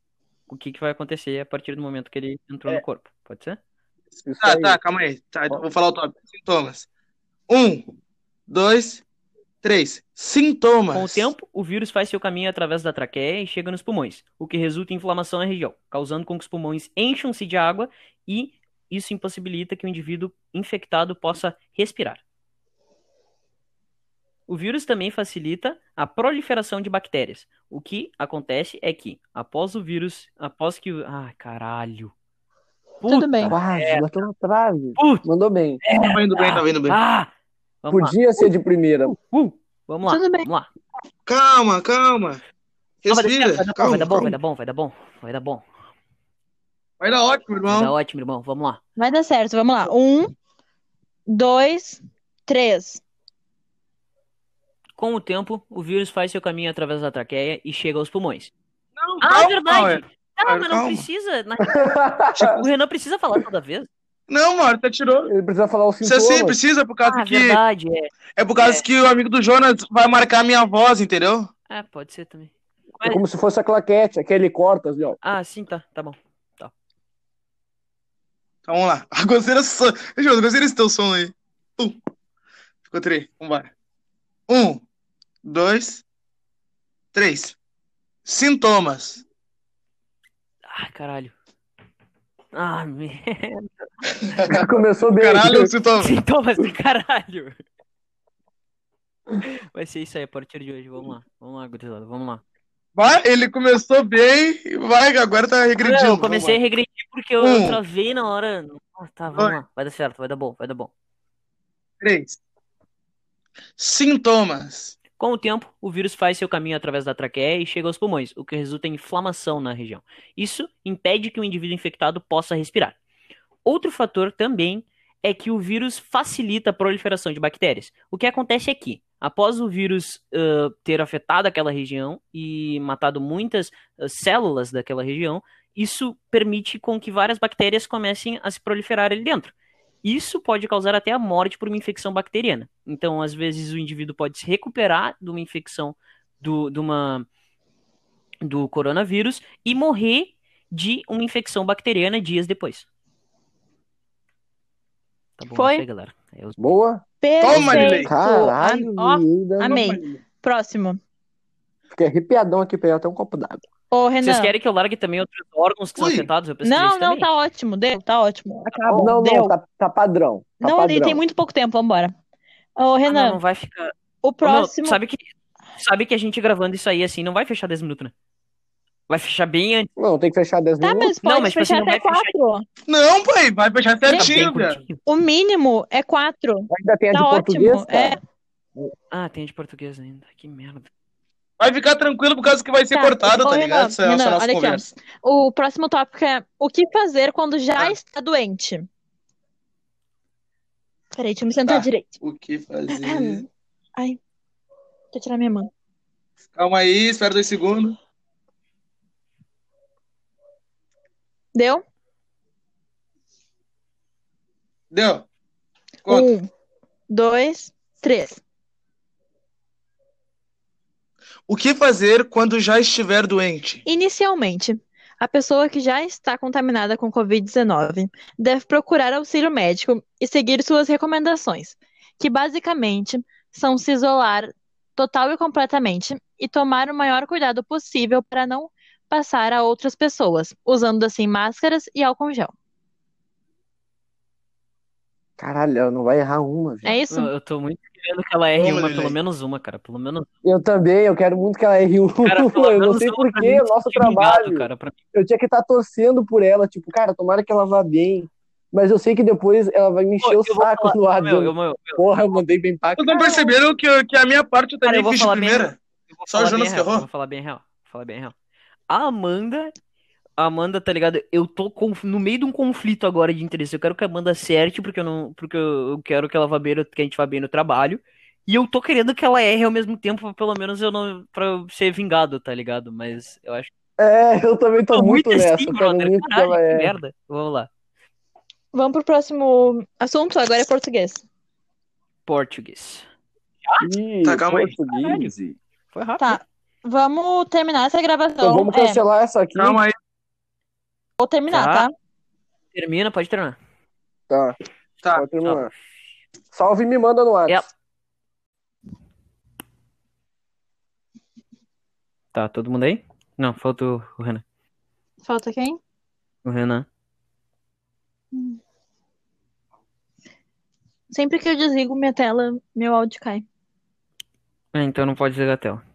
A: O que, que vai acontecer a partir do momento que ele entrou
D: É.
A: no corpo? Pode ser?
E: Isso
D: Tá,
E: aí.
D: tá, calma aí. Tá, então eu vou falar o tópico. Sintomas. Um, dois, três. Sintomas.
A: Com o tempo, o vírus faz seu caminho através da traqueia e chega nos pulmões, o que resulta em inflamação na região, causando com que os pulmões encham-se de água e isso impossibilita que o indivíduo infectado possa respirar. O vírus também facilita a proliferação de bactérias. O que acontece é que, após o vírus, após que o. Ai, caralho!
B: Tudo bem.
E: Quase, bateu na trave.
A: Puta!
E: Mandou bem.
B: É,
D: Tá indo bem, tá indo bem.
A: Ah! Vamos lá.
E: Podia ser de primeira.
A: Uh, vamos lá.
B: Tudo bem.
A: Vamos lá.
D: Calma, calma.
A: Não, vai dar
D: Respira.
A: certo, vai
D: calma,
A: dar bom, vai
D: calma.
A: dar bom, vai dar bom, vai dar bom.
D: Vai dar ótimo,
A: Vai dar
D: irmão.
A: ótimo, irmão. Vamos lá.
B: Vai dar certo, vamos lá. Um, dois, três.
A: Com o tempo, o vírus faz seu caminho através da traqueia e chega aos pulmões.
D: Não,
A: Ah,
D: calma,
A: verdade!
D: Mauer.
A: Ah, mas não
D: Calma.
A: precisa. na- Tipo, O Renan precisa falar toda vez.
D: Não, mano, tá tirou.
E: Ele precisa falar os
D: Você
E: sintomas.
D: sim, precisa, por causa
A: Ah,
D: que.
A: verdade, é.
D: É por causa que o amigo do Jonas vai marcar a minha voz, entendeu?
A: É, pode ser também.
E: É como se fosse a claquete, aquele corta, assim, ó.
A: Ah, sim, tá, tá bom.
D: Então vamos lá. A gozeira só. Deixa eu gozeira esse teu som aí. Um. Ficou três. Vambora. Um, dois, três. Sintomas.
A: Ah, caralho. Ah, me...
E: Começou bem.
D: Caralho, sintomas.
A: sintomas do caralho. Vai ser isso aí a partir de hoje. Vamos lá, vamos lá, gurizada, vamos lá.
D: Vai, ele começou bem, vai, agora tá regredindo.
A: eu comecei a
D: Vambora.
A: regredir porque eu
D: Um.
A: travei na hora. Ah, tá, vamos
D: Dois.
A: lá. Vai dar certo, vai dar bom, vai dar bom.
D: Três. Sintomas.
A: Com o tempo, o vírus faz seu caminho através da traqueia e chega aos pulmões, o que resulta em inflamação na região. Isso impede que o indivíduo infectado possa respirar. Outro fator também é que o vírus facilita a proliferação de bactérias. O que acontece é que, após o vírus ãh, ter afetado aquela região e matado muitas ãh, células daquela região, isso permite com que várias bactérias comecem a se proliferar ali dentro. Isso pode causar até a morte por uma infecção bacteriana. Então, às vezes, o indivíduo pode se recuperar de uma infecção do, de uma, do coronavírus e morrer de uma infecção bacteriana dias depois. Tá bom,
B: Foi?
A: isso aí, galera. Eu-
E: Boa.
D: Toma, Lili.
B: Perfeito.
E: Caralho,
B: Ó,
E: menina.
B: amei. Próximo.
E: Fiquei arrepiadão aqui, pegar até um copo d'água.
B: Ô,
A: Vocês
B: Renan.
A: querem que eu largue também outros órgãos que
D: Ui.
A: são afetados? Eu pesquisei
B: Não,
A: isso
B: não,
A: também.
B: tá ótimo. Deu, tá ótimo. Acabou.
E: não,
B: deu.
E: não, tá, tá padrão. Tá
B: Não,
E: padrão.
B: tem muito pouco tempo, vambora.
A: Ah,
B: Ô,
A: não,
B: Renan,
A: não vai ficar. Ô,
B: o
A: meu,
B: próximo.
A: sabe que sabe que a gente gravando isso aí assim não vai fechar 10 minutos, né? Vai fechar bem antes.
E: Não, tem que fechar 10
B: Tá,
E: minutos.
B: mas pode
A: Não, mas, tipo assim,
B: fechar
A: não
B: até
A: vai fechar.
B: quatro.
D: Não, pai, vai fechar
A: Tá bem
D: certinho, velho.
A: curtinho.
B: O mínimo é quatro.
E: Ainda tem a de
B: Tá
E: português,
B: ótimo.
E: cara.
B: É,
A: Ah, tem de português ainda. Que merda.
D: Vai ficar tranquilo por causa que vai ser
B: Tá.
D: cortado,
B: Ô,
D: tá
B: Renan,
D: ligado? Essa,
B: Renan,
D: essa nossa
B: olha aqui, ó.
D: conversa.
B: o próximo tópico é o que fazer quando já
D: Ah.
B: está doente. Peraí, deixa eu me sentar
D: Tá.
B: direito.
D: O que fazer?
B: Aham. Ai, deixa eu tirar minha mão.
D: Calma aí, espera dois segundos.
B: Deu?
D: Deu. Conta.
B: Um, dois, três.
D: O que fazer quando já estiver doente?
B: Inicialmente, a pessoa que já está contaminada com Covid-19 deve procurar auxílio médico e seguir suas recomendações, que basicamente são se isolar total e completamente e tomar o maior cuidado possível para não passar a outras pessoas, usando assim máscaras e álcool em gel.
E: Caralho, ela não vai errar uma, velho.
B: É isso?
A: Eu, eu tô muito querendo que ela erre
D: Vamos,
A: uma,
D: Lili.
A: pelo menos uma, cara. Pelo menos.
E: Eu também, eu quero muito que ela erre uma.
A: Cara, pelo
E: eu não
A: menos
E: sei
A: uma pra
E: porquê, é
A: mim
E: o nosso
A: sentir ligado,
E: trabalho.
A: cara, pra mim.
E: Eu tinha que estar torcendo por ela, tipo, cara, tomara que ela vá bem. Mas eu sei que depois ela vai me
A: Pô,
E: encher
A: eu
E: o
A: vou
E: saco
A: falar-
E: no ar,
A: Meu,
E: dizendo,
A: eu, meu,
E: porra, eu mandei bem pra
D: Vocês não perceberam que, que a minha parte tá eu
A: Cara,
D: também
A: eu vou
D: fiz de
A: falar bem,
D: primeira?
A: Eu vou
D: Só o
A: falar
D: Jonas
A: bem real,
D: ferrou.
A: eu Vou falar bem real. Vou falar bem real. A Amanda. A Amanda, tá ligado? Eu tô conf- no meio de um conflito agora de interesse. Eu quero que a Amanda acerte, porque eu não. Porque eu eu quero que ela vá bem, no- que a gente vá bem no trabalho. E eu tô querendo que ela erre ao mesmo tempo, pra pelo menos eu não. pra eu ser vingado, tá ligado? Mas eu acho que
E: É, eu também tô,
A: tô
E: muito,
A: assim,
E: nessa. é. eu quero
A: brother.
E: muito que
A: Caralho,
E: ela
A: que
E: erre.
A: merda. Vamos lá.
B: Vamos pro próximo assunto, agora é português.
A: Português.
E: Ih,
D: Tá, calma aí.
E: português.
A: Foi rápido.
B: Tá. Vamos terminar essa gravação.
E: Então vamos
B: É,
E: cancelar essa aqui.
D: Calma aí.
B: vou terminar,
A: Tá.
B: tá?
A: Termina, pode terminar.
E: Tá,
D: Tá.
E: pode terminar. Salve e me manda no WhatsApp.
A: É. Tá, todo mundo aí? Não, falta o o Renan.
B: Falta quem?
A: O Renan.
B: Sempre que eu desligo minha tela, meu áudio cai.
A: É, então não pode desligar a tela.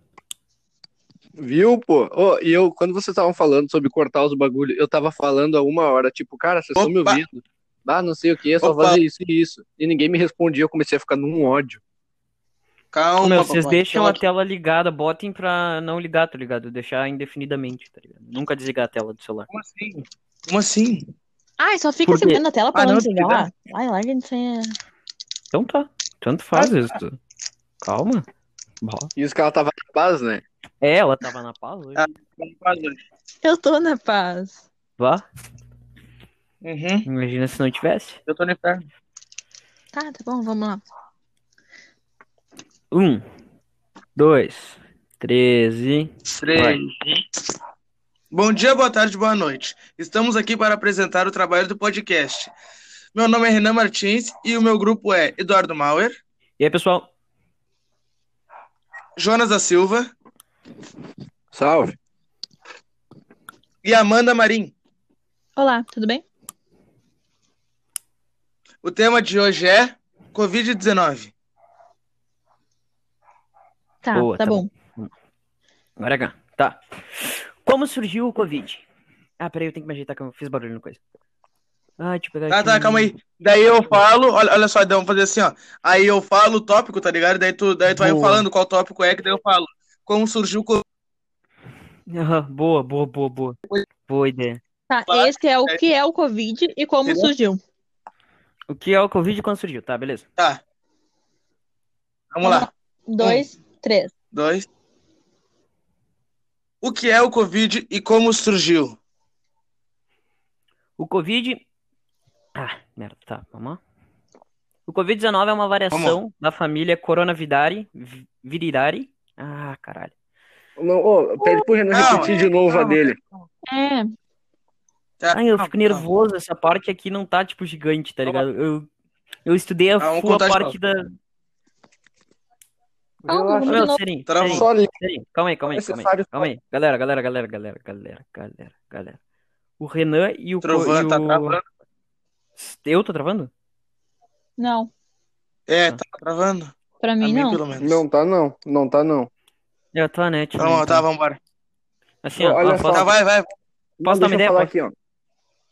C: Viu, pô? Ô, e eu, quando vocês estavam falando sobre cortar os bagulho, eu tava falando há uma hora, tipo, cara, vocês estão me
D: Opa!
C: ouvindo? Ah, não sei o que, só
D: Opa!
C: fazer isso e isso. E ninguém me respondia, eu comecei a ficar num ódio.
D: Calma,
A: Meu, vocês
D: papai.
A: deixam a
D: Calma.
A: tela ligada, botem pra não ligar, tá ligado? Deixar indefinidamente, tá ligado? Nunca desligar a tela do celular.
D: Como assim? Como assim?
B: Ai, só fica
A: Por quê?
B: segurando a tela pra
D: Ah,
B: não
D: não,
B: desligar. Ai, larga de ser.
A: Então tá. Tanto faz isso. tu- Calma. Bó.
C: Isso que ela tava na paz, né?
A: É, ela tava na paz hoje.
D: Ah.
B: Eu tô na paz.
A: Vá.
D: Uhum.
A: Imagina se não tivesse.
D: Eu tô no inferno.
B: Tá, tá bom, vamos lá.
A: Um, dois, três e. Vai.
D: Três. um. Bom dia, boa tarde, boa noite. Estamos aqui para apresentar o trabalho do podcast. Meu nome é Renan Martins e o meu grupo é Eduardo Mauer,
A: E aí, pessoal?
D: Jonas da Silva
C: Salve.
D: e Amanda Marim.
B: Olá, tudo bem?
D: O tema de hoje é Covid-19.
B: Tá,
A: Boa,
B: tá
A: tá
B: bom.
A: Agora é cá. Tá. Como surgiu o Covid? Ah, peraí, eu tenho que me ajeitar que eu fiz barulho no coisa. Ah, deixa eu pegar
D: Tá,
A: aqui
D: tá,
A: um-
D: calma aí. Daí eu falo, olha, olha só, daí vamos fazer assim, ó. Aí eu falo o tópico, tá ligado? Daí tu, daí tu vai
A: Boa.
D: falando qual tópico é, que daí eu falo. Como surgiu o Covid.
A: Aham, boa, boa, boa, boa. Boa ideia.
B: Tá,
D: Claro.
B: esse é o que é o Covid e como
D: Entendeu?
B: surgiu.
A: O que é o Covid e quando surgiu? Tá, beleza.
D: Tá. Vamos lá.
B: Dois, três.
D: Dois. O que é o Covid e como surgiu?
A: O Covid. Ah, merda, tá, vamos lá. O Covid-19 é uma variação da família Coronavirare. vi- Virirare. Ah, caralho.
E: Não, ô, pede pro Renan
D: Não,
E: repetir de novo a
D: não.
E: dele.
B: É,
D: Tá.
A: Ai, eu
D: Calma,
A: fico nervoso, essa parte aqui não tá, tipo, gigante, tá ligado? Eu, eu estudei a
D: Ah, vamos
A: full a
D: contar de
A: parte da.
B: Vamos
A: Meu,
B: de novo.
A: serinho,
D: Travou.
A: serinho,
E: Só liga.
A: serinho. Calma aí, calma aí, calma aí.
E: Necessário.
A: Calma aí. Galera, galera, galera, galera, galera, galera, galera. O Renan e o. co-
D: Trovan
A: e
D: tá
A: o-
D: travando.
A: Eu tô travando?
B: não,
D: É, tá travando.
B: pra
D: A
B: mim
D: mim,
B: não.
D: pelo menos.
E: Não tá não, não tá não.
A: Eu tô, né? Tipo,
D: Tá bom, tá, vambora.
A: Assim, ó,
E: Olha
A: ó,
E: só.
A: posso-
D: Tá, vai, vai.
E: Não,
A: Posso dar uma
E: deixa eu
A: ideia?
E: falar
A: Posso?
E: aqui, ó.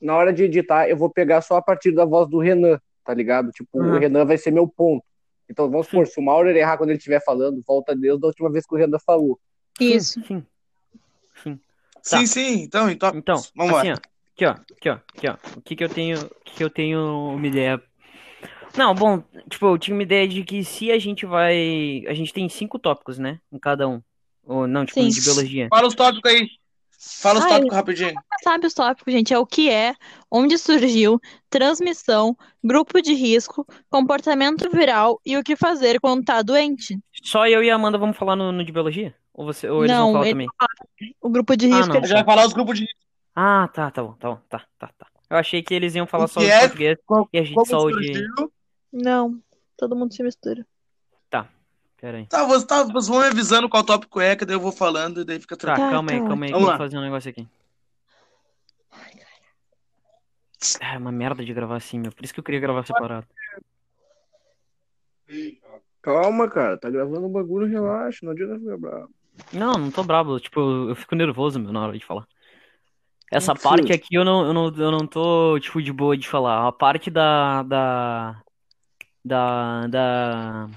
E: Na hora de editar, eu vou pegar só a partir da voz do Renan, tá ligado? Tipo,
A: Uhum.
E: o Renan vai ser meu ponto. Então vamos supor, se o Maurer errar quando ele estiver falando, volta Deus da última vez que o Renan falou.
B: Isso.
A: Sim, sim.
D: Sim, sim, então, então.
A: Então,
D: Vambora.
A: assim, ó. Aqui, ó. Aqui, ó. Aqui, ó. O que que eu tenho, o que que eu tenho uma ideia? Não, bom, tipo, eu tinha uma ideia de que se a gente vai, a gente tem cinco tópicos, né? Em cada um. Ou não, tipo,
B: Sim.
A: de biologia.
D: Fala os tópicos aí. Fala os
B: Ai.
D: tópicos rapidinho.
B: Sabe os tópicos, gente? É o que é, onde surgiu, transmissão, grupo de risco, comportamento viral e o que fazer quando tá doente.
A: Só eu e a Amanda vamos falar no, no de biologia? Ou você, ou eles
B: Não,
A: vão falar
B: ele-
A: também?
B: O grupo de
A: Ah,
B: risco é-
A: não.
D: Já vai falar os grupos de.
A: Ah, tá, tá bom, tá bom, tá, tá, tá. Eu achei que eles iam falar
D: O
A: só
D: que
A: de
D: é?
A: português e a gente
D: Como
A: só o de.
D: surgiu.
B: Não, todo mundo se mistura.
A: Pera aí.
D: Tá, vocês tá, vocês vão revisando qual tópico é, que daí eu vou falando e daí fica
A: Tá,
D: tranquilo.
B: Tá,
A: calma aí,
B: tá
A: calma aí, que eu
D: Vamos
A: vou
D: lá.
A: fazer um negócio aqui. Ah, é uma merda de gravar assim, meu. Por isso que eu queria gravar separado.
E: Calma, cara, tá gravando o bagulho, relaxa, não adianta ficar bravo.
A: Não, não tô brabo. Tipo, eu fico nervoso, meu, na hora de falar. Essa
E: precisa.
A: parte aqui eu não, eu não, eu não tô, tipo, de boa de falar. A parte da, da, da, da,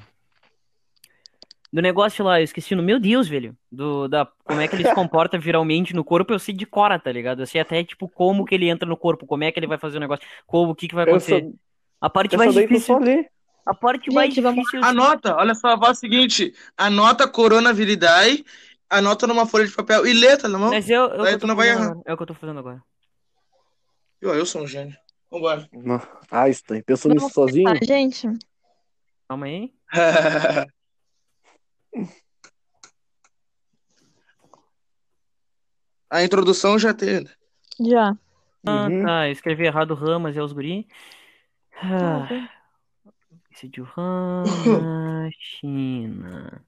A: do negócio lá, eu esqueci. no- Meu Deus, velho. Do, da, como é que ele se comporta viralmente no corpo, eu sei de cora, tá ligado? Eu sei até, tipo, como que ele entra no corpo, como é que ele vai fazer o negócio, como, o que que vai
E: Eu
A: acontecer.
E: só,
A: A parte
E: eu
A: mais
E: só dei tu
A: difícil,
E: só ler.
A: A parte
B: Gente,
A: mais
B: vamos-
A: difícil.
D: Anota, olha só, faz o seguinte: anota coronaviridae, anota numa folha de papel e letra na mão.
A: Mas eu, é o que
D: Daí
A: eu
D: tu
A: tô
D: não vai
A: fazendo
D: errar.
A: agora. É o que eu tô fazendo agora.
D: Eu, eu sou um gênio. Vambora.
E: Einstein, Ah, pensou nisso
B: Vamos
E: sozinho?
B: Ah, gente,
A: Calma aí.
D: A introdução já né? teve.
B: já.
A: Ah,
E: Uhum.
A: tá. Eu escrevi errado Ramas e os guri. Ah,
B: Tá,
A: esse de Rama, China.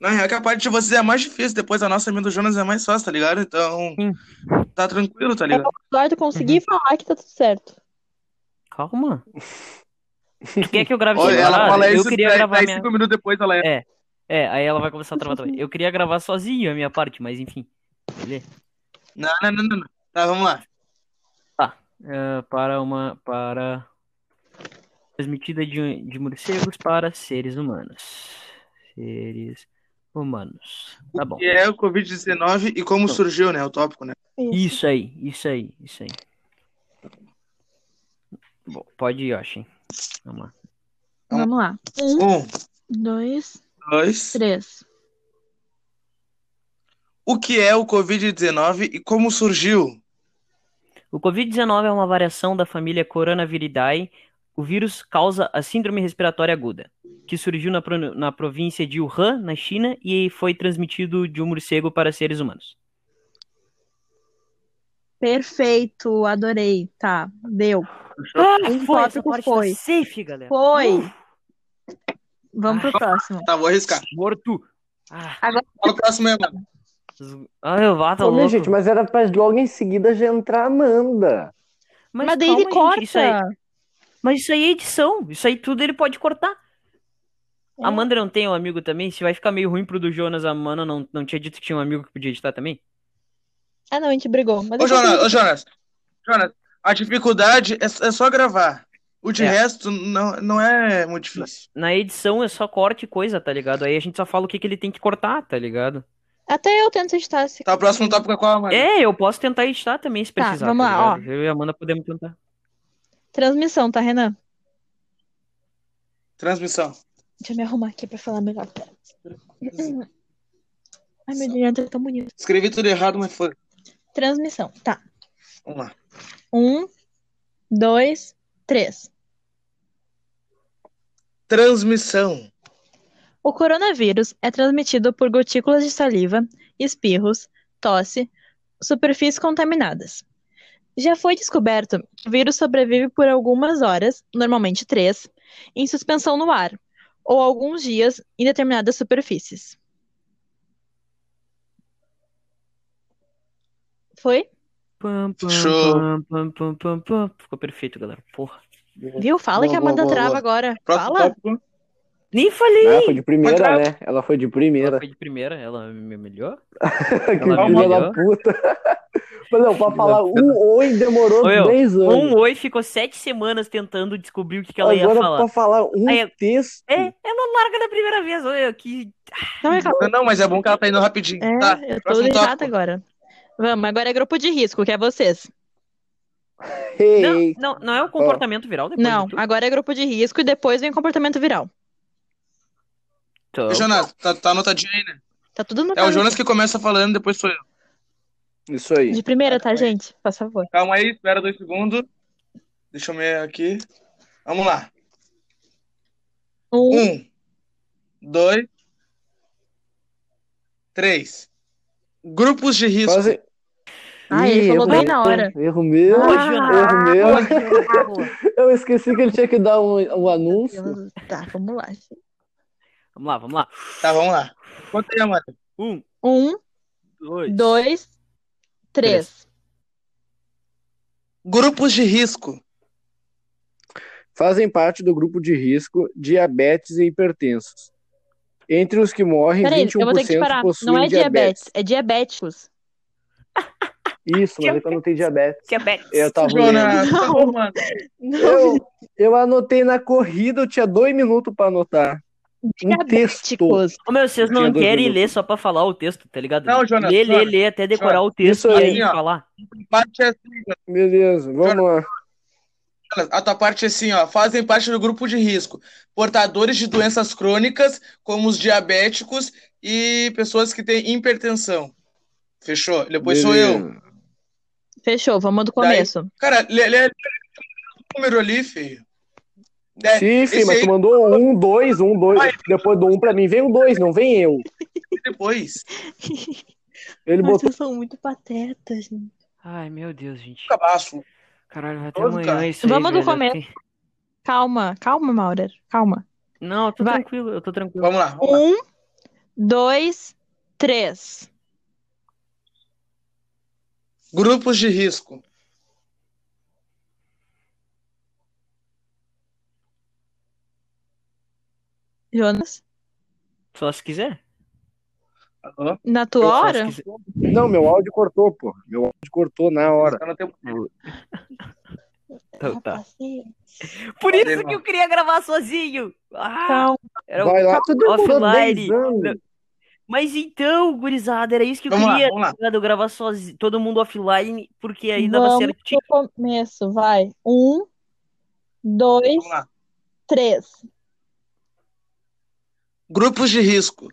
D: Na real, que a parte de vocês é a mais difícil, depois a nossa minha do Jonas é mais fácil, tá ligado? Então,
A: Sim.
D: tá tranquilo, tá ligado?
B: Eduardo, consegui falar que tá tudo certo.
A: Calma. Tu quer que eu grave
D: Olha,
A: separado?
D: ela fala
A: Eu
D: isso,
A: queria
D: daí,
A: gravar
D: daí
A: minha-
D: cinco minutos depois ela é.
A: É, aí ela vai começar a travar também. Eu queria gravar sozinho a minha parte, mas enfim. Beleza?
D: Não, não, não, não, não. Tá, vamos lá.
A: Ah, para uma. Para. Transmitida de, de morcegos para seres humanos. Seres humanos. Tá bom.
D: O que é o Covid-19 e como
A: Tá.
D: surgiu, né? O tópico, né?
A: Isso aí, isso aí, isso aí. Bom, pode ir, Yoshin. Vamos lá.
B: Vamos lá. Um,
D: Um,
B: dois,
D: dois.
B: três.
D: O que é o Covid-19 e como surgiu?
A: O Covid-19 é uma variação da família Coronaviridae. O vírus causa a síndrome respiratória aguda, que surgiu na, pro- na província de Wuhan, na China, e foi transmitido de um morcego para seres humanos.
B: Perfeito, adorei. Tá, deu.
E: Ah,
B: Um
A: foi, essa
B: tópico
A: parte tá
B: foi.
A: safe, galera.
B: Foi. Vamos pro próximo.
D: Tá, vou arriscar.
A: Morto. Ah,
D: Fala o próximo aí, mano.
A: z- ah, meu vá, tá
E: Ô, minha
A: louco.
E: gente, mas era pra logo em seguida já entrar a Amanda.
A: Mas
B: Mas daí
A: calma,
B: ele
A: gente,
B: corta.
A: isso aí- mas isso aí é edição. Isso aí tudo ele pode cortar.
B: É.
A: A Amanda não tem um amigo também? Se vai ficar meio ruim pro do Jonas, a Amanda não, não tinha dito que tinha um amigo que podia editar também?
B: Ah, não, a gente brigou. Mas
D: Ô,
B: depois
D: Jonas,
B: eu-
D: ô, Jonas. Jonas, a dificuldade é, é só gravar. O de
A: É.
D: resto não, não é muito difícil.
A: Na edição é só corte e coisa, tá ligado? Aí a gente só fala o que, que ele tem que cortar, tá ligado?
B: Até eu tento editar esse.
D: Tá, o próximo tópico é qual, mano?
A: É, eu posso tentar editar também se
B: Tá,
A: precisar.
B: vamos
A: tá
B: lá,
A: ligado? Eu e a Amanda podemos tentar.
B: Transmissão, tá, Renan?
D: Transmissão.
B: Deixa eu me arrumar aqui pra falar melhor. Ai, meu diante é tão bonito.
D: Escrevi tudo errado, mas foi.
B: Transmissão, tá.
D: Vamos lá.
B: Um, dois, três.
D: Transmissão.
B: O coronavírus é transmitido por gotículas de saliva, espirros, tosse, superfícies contaminadas. Já foi descoberto que o vírus sobrevive por algumas horas, normalmente três, em suspensão no ar, ou alguns dias em determinadas superfícies. Foi?
A: Pam, pam,
D: Show.
A: pam, pam, pam, pam, pam. Ficou perfeito, galera. Porra.
B: Viu? Fala
D: Boa,
B: que a
D: boa,
B: Amanda
D: boa,
B: trava
D: boa.
B: agora.
D: Próximo
B: Fala.
D: tópico.
A: Nem falei!
E: Ela foi de primeira,
D: Mas-
E: né? Ela foi de
A: Ela
E: primeira.
A: foi de primeira, ela me melhor.
E: que
A: ela
E: filha da
A: melhor.
E: puta. Mas não, pra falar um oi demorou
A: Ô, eu,
E: 10 anos.
A: Um oi ficou sete semanas tentando descobrir o que, que ela ia
E: Agora
A: falar.
E: pra falar um
A: Aí-
E: texto.
A: É, ela larga da primeira vez. Olha, que
B: Não, é calma.
D: Não, não, mas é bom que ela tá indo rapidinho.
B: É,
D: Tá,
B: eu tô
D: próximo
B: irritada
D: tópico.
B: agora. Vamos, agora é grupo de risco, que é vocês.
E: Hey.
A: Não, não, não é o comportamento viral depois
B: Não,
A: de tudo?
B: agora é grupo de risco e depois vem comportamento viral.
A: Então,
D: Ô, Jonas, tá, tá anotadinho aí, né?
B: Tá tudo no
D: É o Jonas que começa falando, depois sou eu.
E: Isso aí.
B: De primeira, tá, gente? Por favor.
D: Calma aí, espera dois segundos. Deixa eu ver aqui. Vamos lá.
B: Um,
D: Um, dois, três. Grupos de risco.
E: Quase...
B: Ah, ele
E: Ih,
B: falou
E: erro
B: bem
E: meu,
B: na hora.
E: Erro meu,
A: Ô,
E: erro
A: Jonas.
E: meu.
A: Ô, Jonas.
E: Eu esqueci que ele tinha que dar um, um anúncio.
B: Tá, vamos lá. gente.
A: Vamos lá, vamos lá.
D: Tá, vamos lá. Conta aí, Amanda.
A: Um,
B: Um,
A: dois.
B: dois, três.
D: Grupos de risco.
E: Fazem parte do grupo de risco diabetes e hipertensos. Entre os que morrem,
B: Peraí, eu vou ter que
E: 21%
B: parar.
E: possuem
B: Não é
E: diabetes.
B: diabetes, é diabéticos.
E: Isso, mas é que eu não tenho diabetes.
A: Diabetes.
E: Eu tava lendo.
D: Jonas,
B: Não.
D: tá bom, mano.
B: Não,
E: Eu, eu anotei na corrida, eu tinha dois minutos pra anotar. Um texto.
B: Diabéticos.
A: Ô, meu, vocês não
E: Tinha dois
A: querem
E: minutos.
A: ler só pra falar o texto, tá ligado?
D: Não, Jonas,
A: Lê, lê,
D: Jonas,
A: lê, até decorar o texto
E: Isso
A: e aí
D: aí, ó.
A: falar.
D: Parte é assim,
E: Beleza, vamos lá.
D: Nicolas, A tua parte é assim, ó, fazem parte do grupo de risco, portadores de doenças crônicas, como os diabéticos e pessoas que têm hipertensão. Fechou? Depois sou eu.
E: Beleza.
B: Fechou, vamos do começo.
D: Cara, lê, lê- lê o número ali, filho. É,
E: Sim, sim,
D: esse
E: mas
D: aí
E: tu mandou um, dois, um, dois. Depois do um pra mim, vem um dois, não vem eu.
D: depois.
E: Ele
B: Ai,
E: botou.
B: Vocês são muito patetas, gente.
A: Ai, meu Deus, gente.
D: Cabaço.
A: Caralho, vai até
D: Vamos,
A: amanhã
D: cara.
A: isso aí,
B: Vamos do
A: velho.
B: começo.
A: Tem-
B: Calma, calma, Maurer. Calma.
A: Não, eu tô
B: Vai.
A: tranquilo, eu tô tranquilo.
D: Vamos lá. vamos lá.
B: Um, dois, três.
D: Grupos de risco.
B: Jonas,
A: Só se quiser.
D: Alô?
B: na tua
A: Só se
B: hora?
A: quiser.
E: Não, meu áudio cortou, pô. Meu áudio cortou na hora.
D: Tá no tempo.
A: Então tá.
B: Paciência.
A: Por
D: Tá
A: isso
D: bem,
A: que eu
D: mano.
A: queria gravar sozinho. Ah,
B: Calma.
A: era
E: Vai lá, tu demorou
A: offline.
E: 10 anos.
A: Mas então, gurizada, era isso que eu
D: Vamos lá,
A: queria,
D: vamos lá.
A: tá ligado? Eu gravar sozinho, todo mundo offline, porque aí dava
B: Vamos
A: certinho.
B: pro começo, vai. Um, dois,
D: Vamos lá.
B: três.
D: Grupos de risco.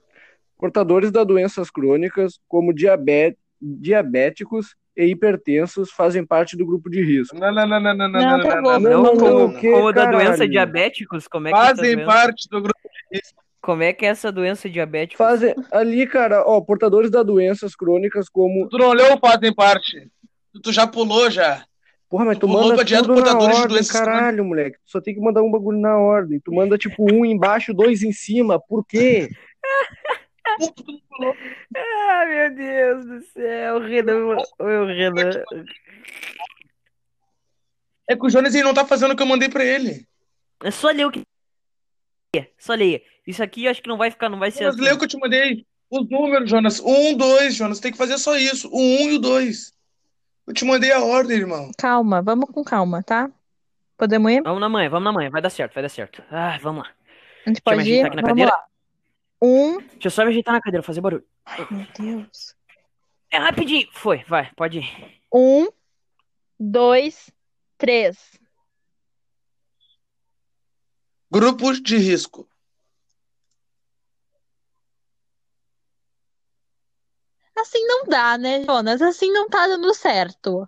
E: Portadores da doenças crônicas, como diabe- diabéticos e hipertensos, fazem parte do grupo de risco.
D: Não, não, não, não, não, não,
B: Não,
D: não,
B: tá
D: não,
B: bom.
D: não,
A: Não,
E: não,
D: não, não,
A: como, é
E: não.
D: não.
E: que
A: como da
E: caralho?
A: doença diabéticos, como é que essa
D: Fazem
A: doença,
D: parte do grupo.
A: como é que é essa doença diabética?
E: Fazem ali, cara, ó, portadores da doenças crônicas, como.
D: Tu não leu o fazem parte. Tu- Tu já pulou já.
E: Porra, mas
D: Tu
E: tu
D: pulou
E: manda
D: pra dieta
E: tudo na
D: portadores de
E: ordem,
D: doenças
E: caralho, moleque. Tu só tem que mandar um bagulho na ordem. Tu manda tipo um embaixo, dois em cima. Por quê?
A: Ah, meu Deus do céu, o Renan, o Renan,
D: É que o Jonas ele não tá fazendo o que eu mandei pra ele.
A: é só ler o que é, só leia. Isso aqui eu acho que não vai ficar, não vai ser
D: Jonas,
A: assim.
D: lê o que eu te mandei. Os números, Jonas. Um, dois, Jonas. Tem que fazer só isso. O um e o dois. Eu te mandei a ordem, irmão.
B: Calma, vamos com calma, tá? Podemos ir?
A: Vamos na manhã, vamos na manhã, vai dar certo, vai dar certo. Ah, vamos lá. Deixa eu
B: A gente
A: me
B: pode ir?
A: ajeitar aqui na
B: Vamos
A: cadeira.
B: lá. Um.
A: Deixa eu só me ajeitar na cadeira, fazer barulho.
B: Ai, meu Deus.
A: É rapidinho. Foi, vai, pode ir.
B: Um, dois, três.
D: Grupos de risco.
B: Assim não dá, né, Jonas? Assim não tá dando certo.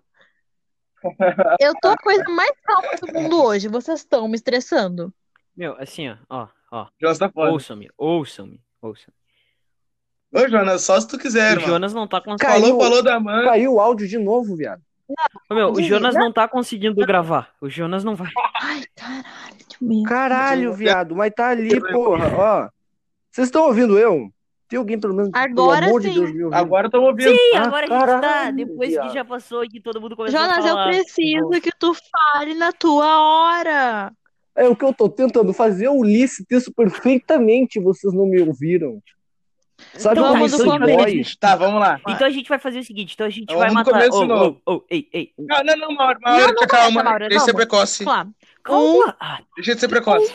B: Eu tô a coisa mais calma do mundo hoje. Vocês estão me estressando.
A: Meu, assim, ó, ó, ó.
D: Jonas tá fora.
A: Ouçam-me, ouçam-me, ouçam.
D: Ô, Jonas, só se tu quiser,
A: O
D: irmão.
A: Jonas não tá conseguindo.
E: Caiu.
D: Falou, falou da mãe.
E: Caiu o áudio de novo, viado.
A: Meu, o
B: Desliga.
A: Jonas não tá conseguindo gravar. O Jonas não vai.
B: Ai, caralho, meu.
E: Caralho, viado, mas tá ali, porra, ó. Vocês estão ouvindo eu? Tem alguém pelo menos,
B: Agora
E: pelo amor
B: sim.
E: de Deus, me ouvindo?
D: Agora estão ouvindo.
A: Sim,
E: Ah,
A: agora a gente tá.
E: caralho,
A: Depois que
E: viado.
A: já passou e que todo mundo começou a
B: Jonas, eu
A: falar.
B: preciso que tu fale na tua hora.
E: É o que eu tô tentando fazer, eu li esse texto perfeitamente, vocês não me ouviram. Sabe
A: Então
E: como
A: tá,
E: isso
A: então
E: dói?
A: beleza.
D: Tá, vamos lá.
A: Então a gente vai fazer o seguinte, então a gente
D: Então
A: vai
D: vamos no
A: matar.
D: começo
A: Ô,
D: de novo.
A: ô, ô, ei, ei.
D: Não, não, não, Mauro.
B: Não,
D: Mauro,
B: não,
D: tá calma.
B: Mauro,
D: Deixa de ser
B: vamos.
D: precoce.
B: Vamos lá.
A: Calma. Ah,
D: Deixa de ser precoce.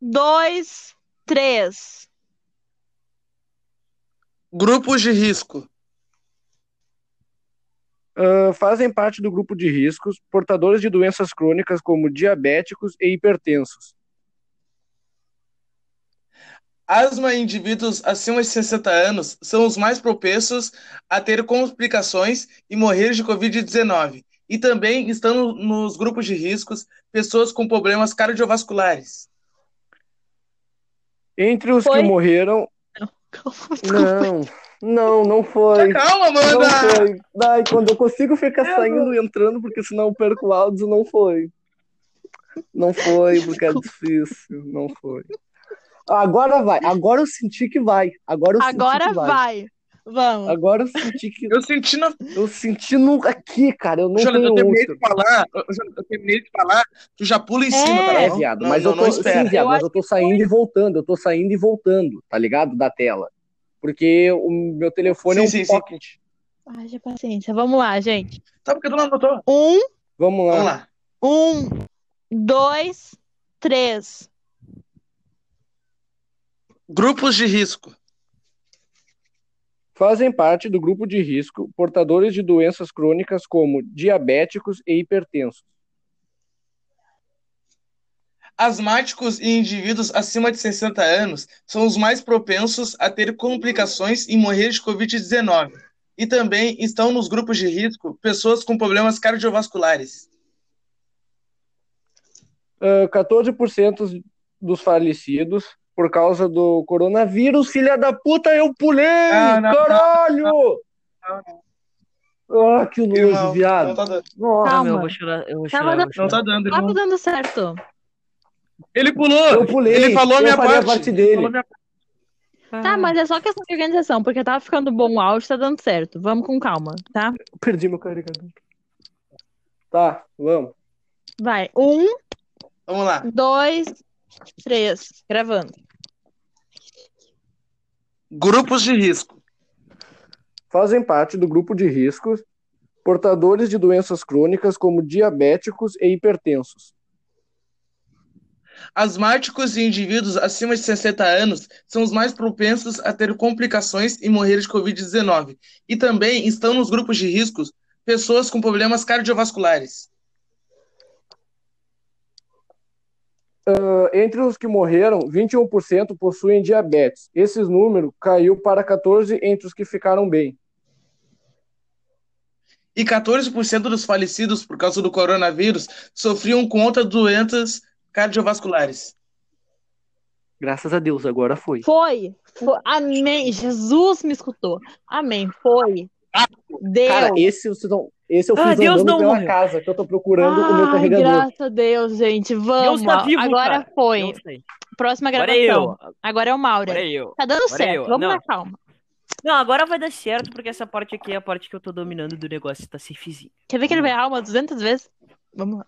B: Dois, três.
D: Grupos de risco.
E: Ah, fazem parte do grupo de riscos portadores de doenças crônicas como diabéticos e hipertensos.
D: Asma em indivíduos acima de 60 anos são os mais propensos a ter complicações e morrer de Covid-19. E também estão nos grupos de riscos pessoas com problemas cardiovasculares.
E: Entre os
B: Foi?
E: que morreram. Não, não, não foi.
D: Calma,
E: Não
D: Amanda!
E: foi. Ai, quando eu consigo ficar saindo e entrando, porque senão eu perco o áudio, não foi. Não foi, porque é difícil. Não foi. Agora vai. Agora eu senti que vai. Agora eu senti
B: Agora
E: que vai.
B: vai. Vamos.
E: Agora eu senti que.
D: Eu senti na
E: Eu senti no... aqui, cara. Eu não
D: Jonas, eu
E: tenho
D: terminei
E: Oscar.
D: de falar, eu, Jonas, eu terminei de falar, tu já pula em cima, tá
E: É,
D: bom?
E: viado,
D: Não,
E: mas
D: não,
E: eu tô.
D: não
E: sim,
D: espera.
E: viado,
B: Eu
E: mas eu tô saindo e voltando. Eu tô saindo e voltando, tá ligado? Da tela. Porque o meu telefone é um
D: Sim, sim, sim.
E: pocket.
B: Haja paciência. Vamos lá, gente.
D: Tá porque tu não anotou.
B: Um,
E: Vamos lá.
D: Vamos lá.
B: um, dois, três.
D: Grupos de risco.
E: Fazem parte do grupo de risco portadores de doenças crônicas como diabéticos e hipertensos.
D: Asmáticos e indivíduos acima de 60 anos são os mais propensos a ter complicações e morrer de Covid-19. E também estão nos grupos de risco pessoas com problemas cardiovasculares.
E: Ah, 14% dos falecidos por causa do coronavírus, filha da puta, eu pulei!
D: Ah, não,
E: caralho! Ah, que nojo,
D: Não, não
E: viado.
D: tá dando.
E: Nossa,
A: Ah, meu, eu
B: Calma.
A: vou chorar, eu vou
B: Tava
A: chorar, eu
B: dando-
A: vou
D: Não
A: chorar.
D: tá dando,
B: Tava
D: irmão.
B: dando certo.
D: Ele pulou!
E: eu pulei.
D: Ele falou a
E: eu
D: minha
E: falei
D: parte.
E: a parte dele.
D: Ele falou a minha-
B: Tá, mas é só questão de organização, porque tava ficando bom o áudio, tá dando certo. Vamos com calma, tá?
E: Perdi meu carregador. Tá, vamos.
B: Vai. Um,
D: Vamos lá.
B: dois, três. Gravando.
D: Grupos de risco.
E: Fazem parte do grupo de riscos portadores de doenças crônicas como diabéticos e hipertensos.
D: Asmáticos e indivíduos acima de 60 anos são os mais propensos a ter complicações e morrer de Covid-19. E também estão nos grupos de riscos pessoas com problemas cardiovasculares.
E: Ah, Entre os que morreram, 21% possuem diabetes. Esse número caiu para 14% entre os que ficaram bem.
D: E 14% dos falecidos por causa do coronavírus sofriam com outras doenças cardiovasculares.
E: Graças a Deus, agora foi.
B: Foi. Foi. Amém. Jesus me escutou. Amém. Foi. Deus.
E: Cara, esse, vocês não, esse eu fiz
A: Ah, Deus
E: andando
A: não
E: pela
A: morreu.
E: casa, que eu tô procurando o meu
B: Ai,
E: carregador.
B: graças a Deus, gente. Vamos.
A: tá vivo,
B: Agora
A: cara.
B: foi.
A: Eu sei.
B: Próxima
A: Agora
B: gravação.
A: eu,
B: Agora é o Mauro.
A: agora eu.
B: Tá dando
A: Agora é
B: certo.
A: eu.
B: Vamos
A: Não.
B: na calma.
A: Não, agora vai dar certo, porque essa parte aqui é a parte que eu tô dominando do negócio, tá safezinho.
B: Quer ver que ele vai errar umas 200 vezes? Vamos lá.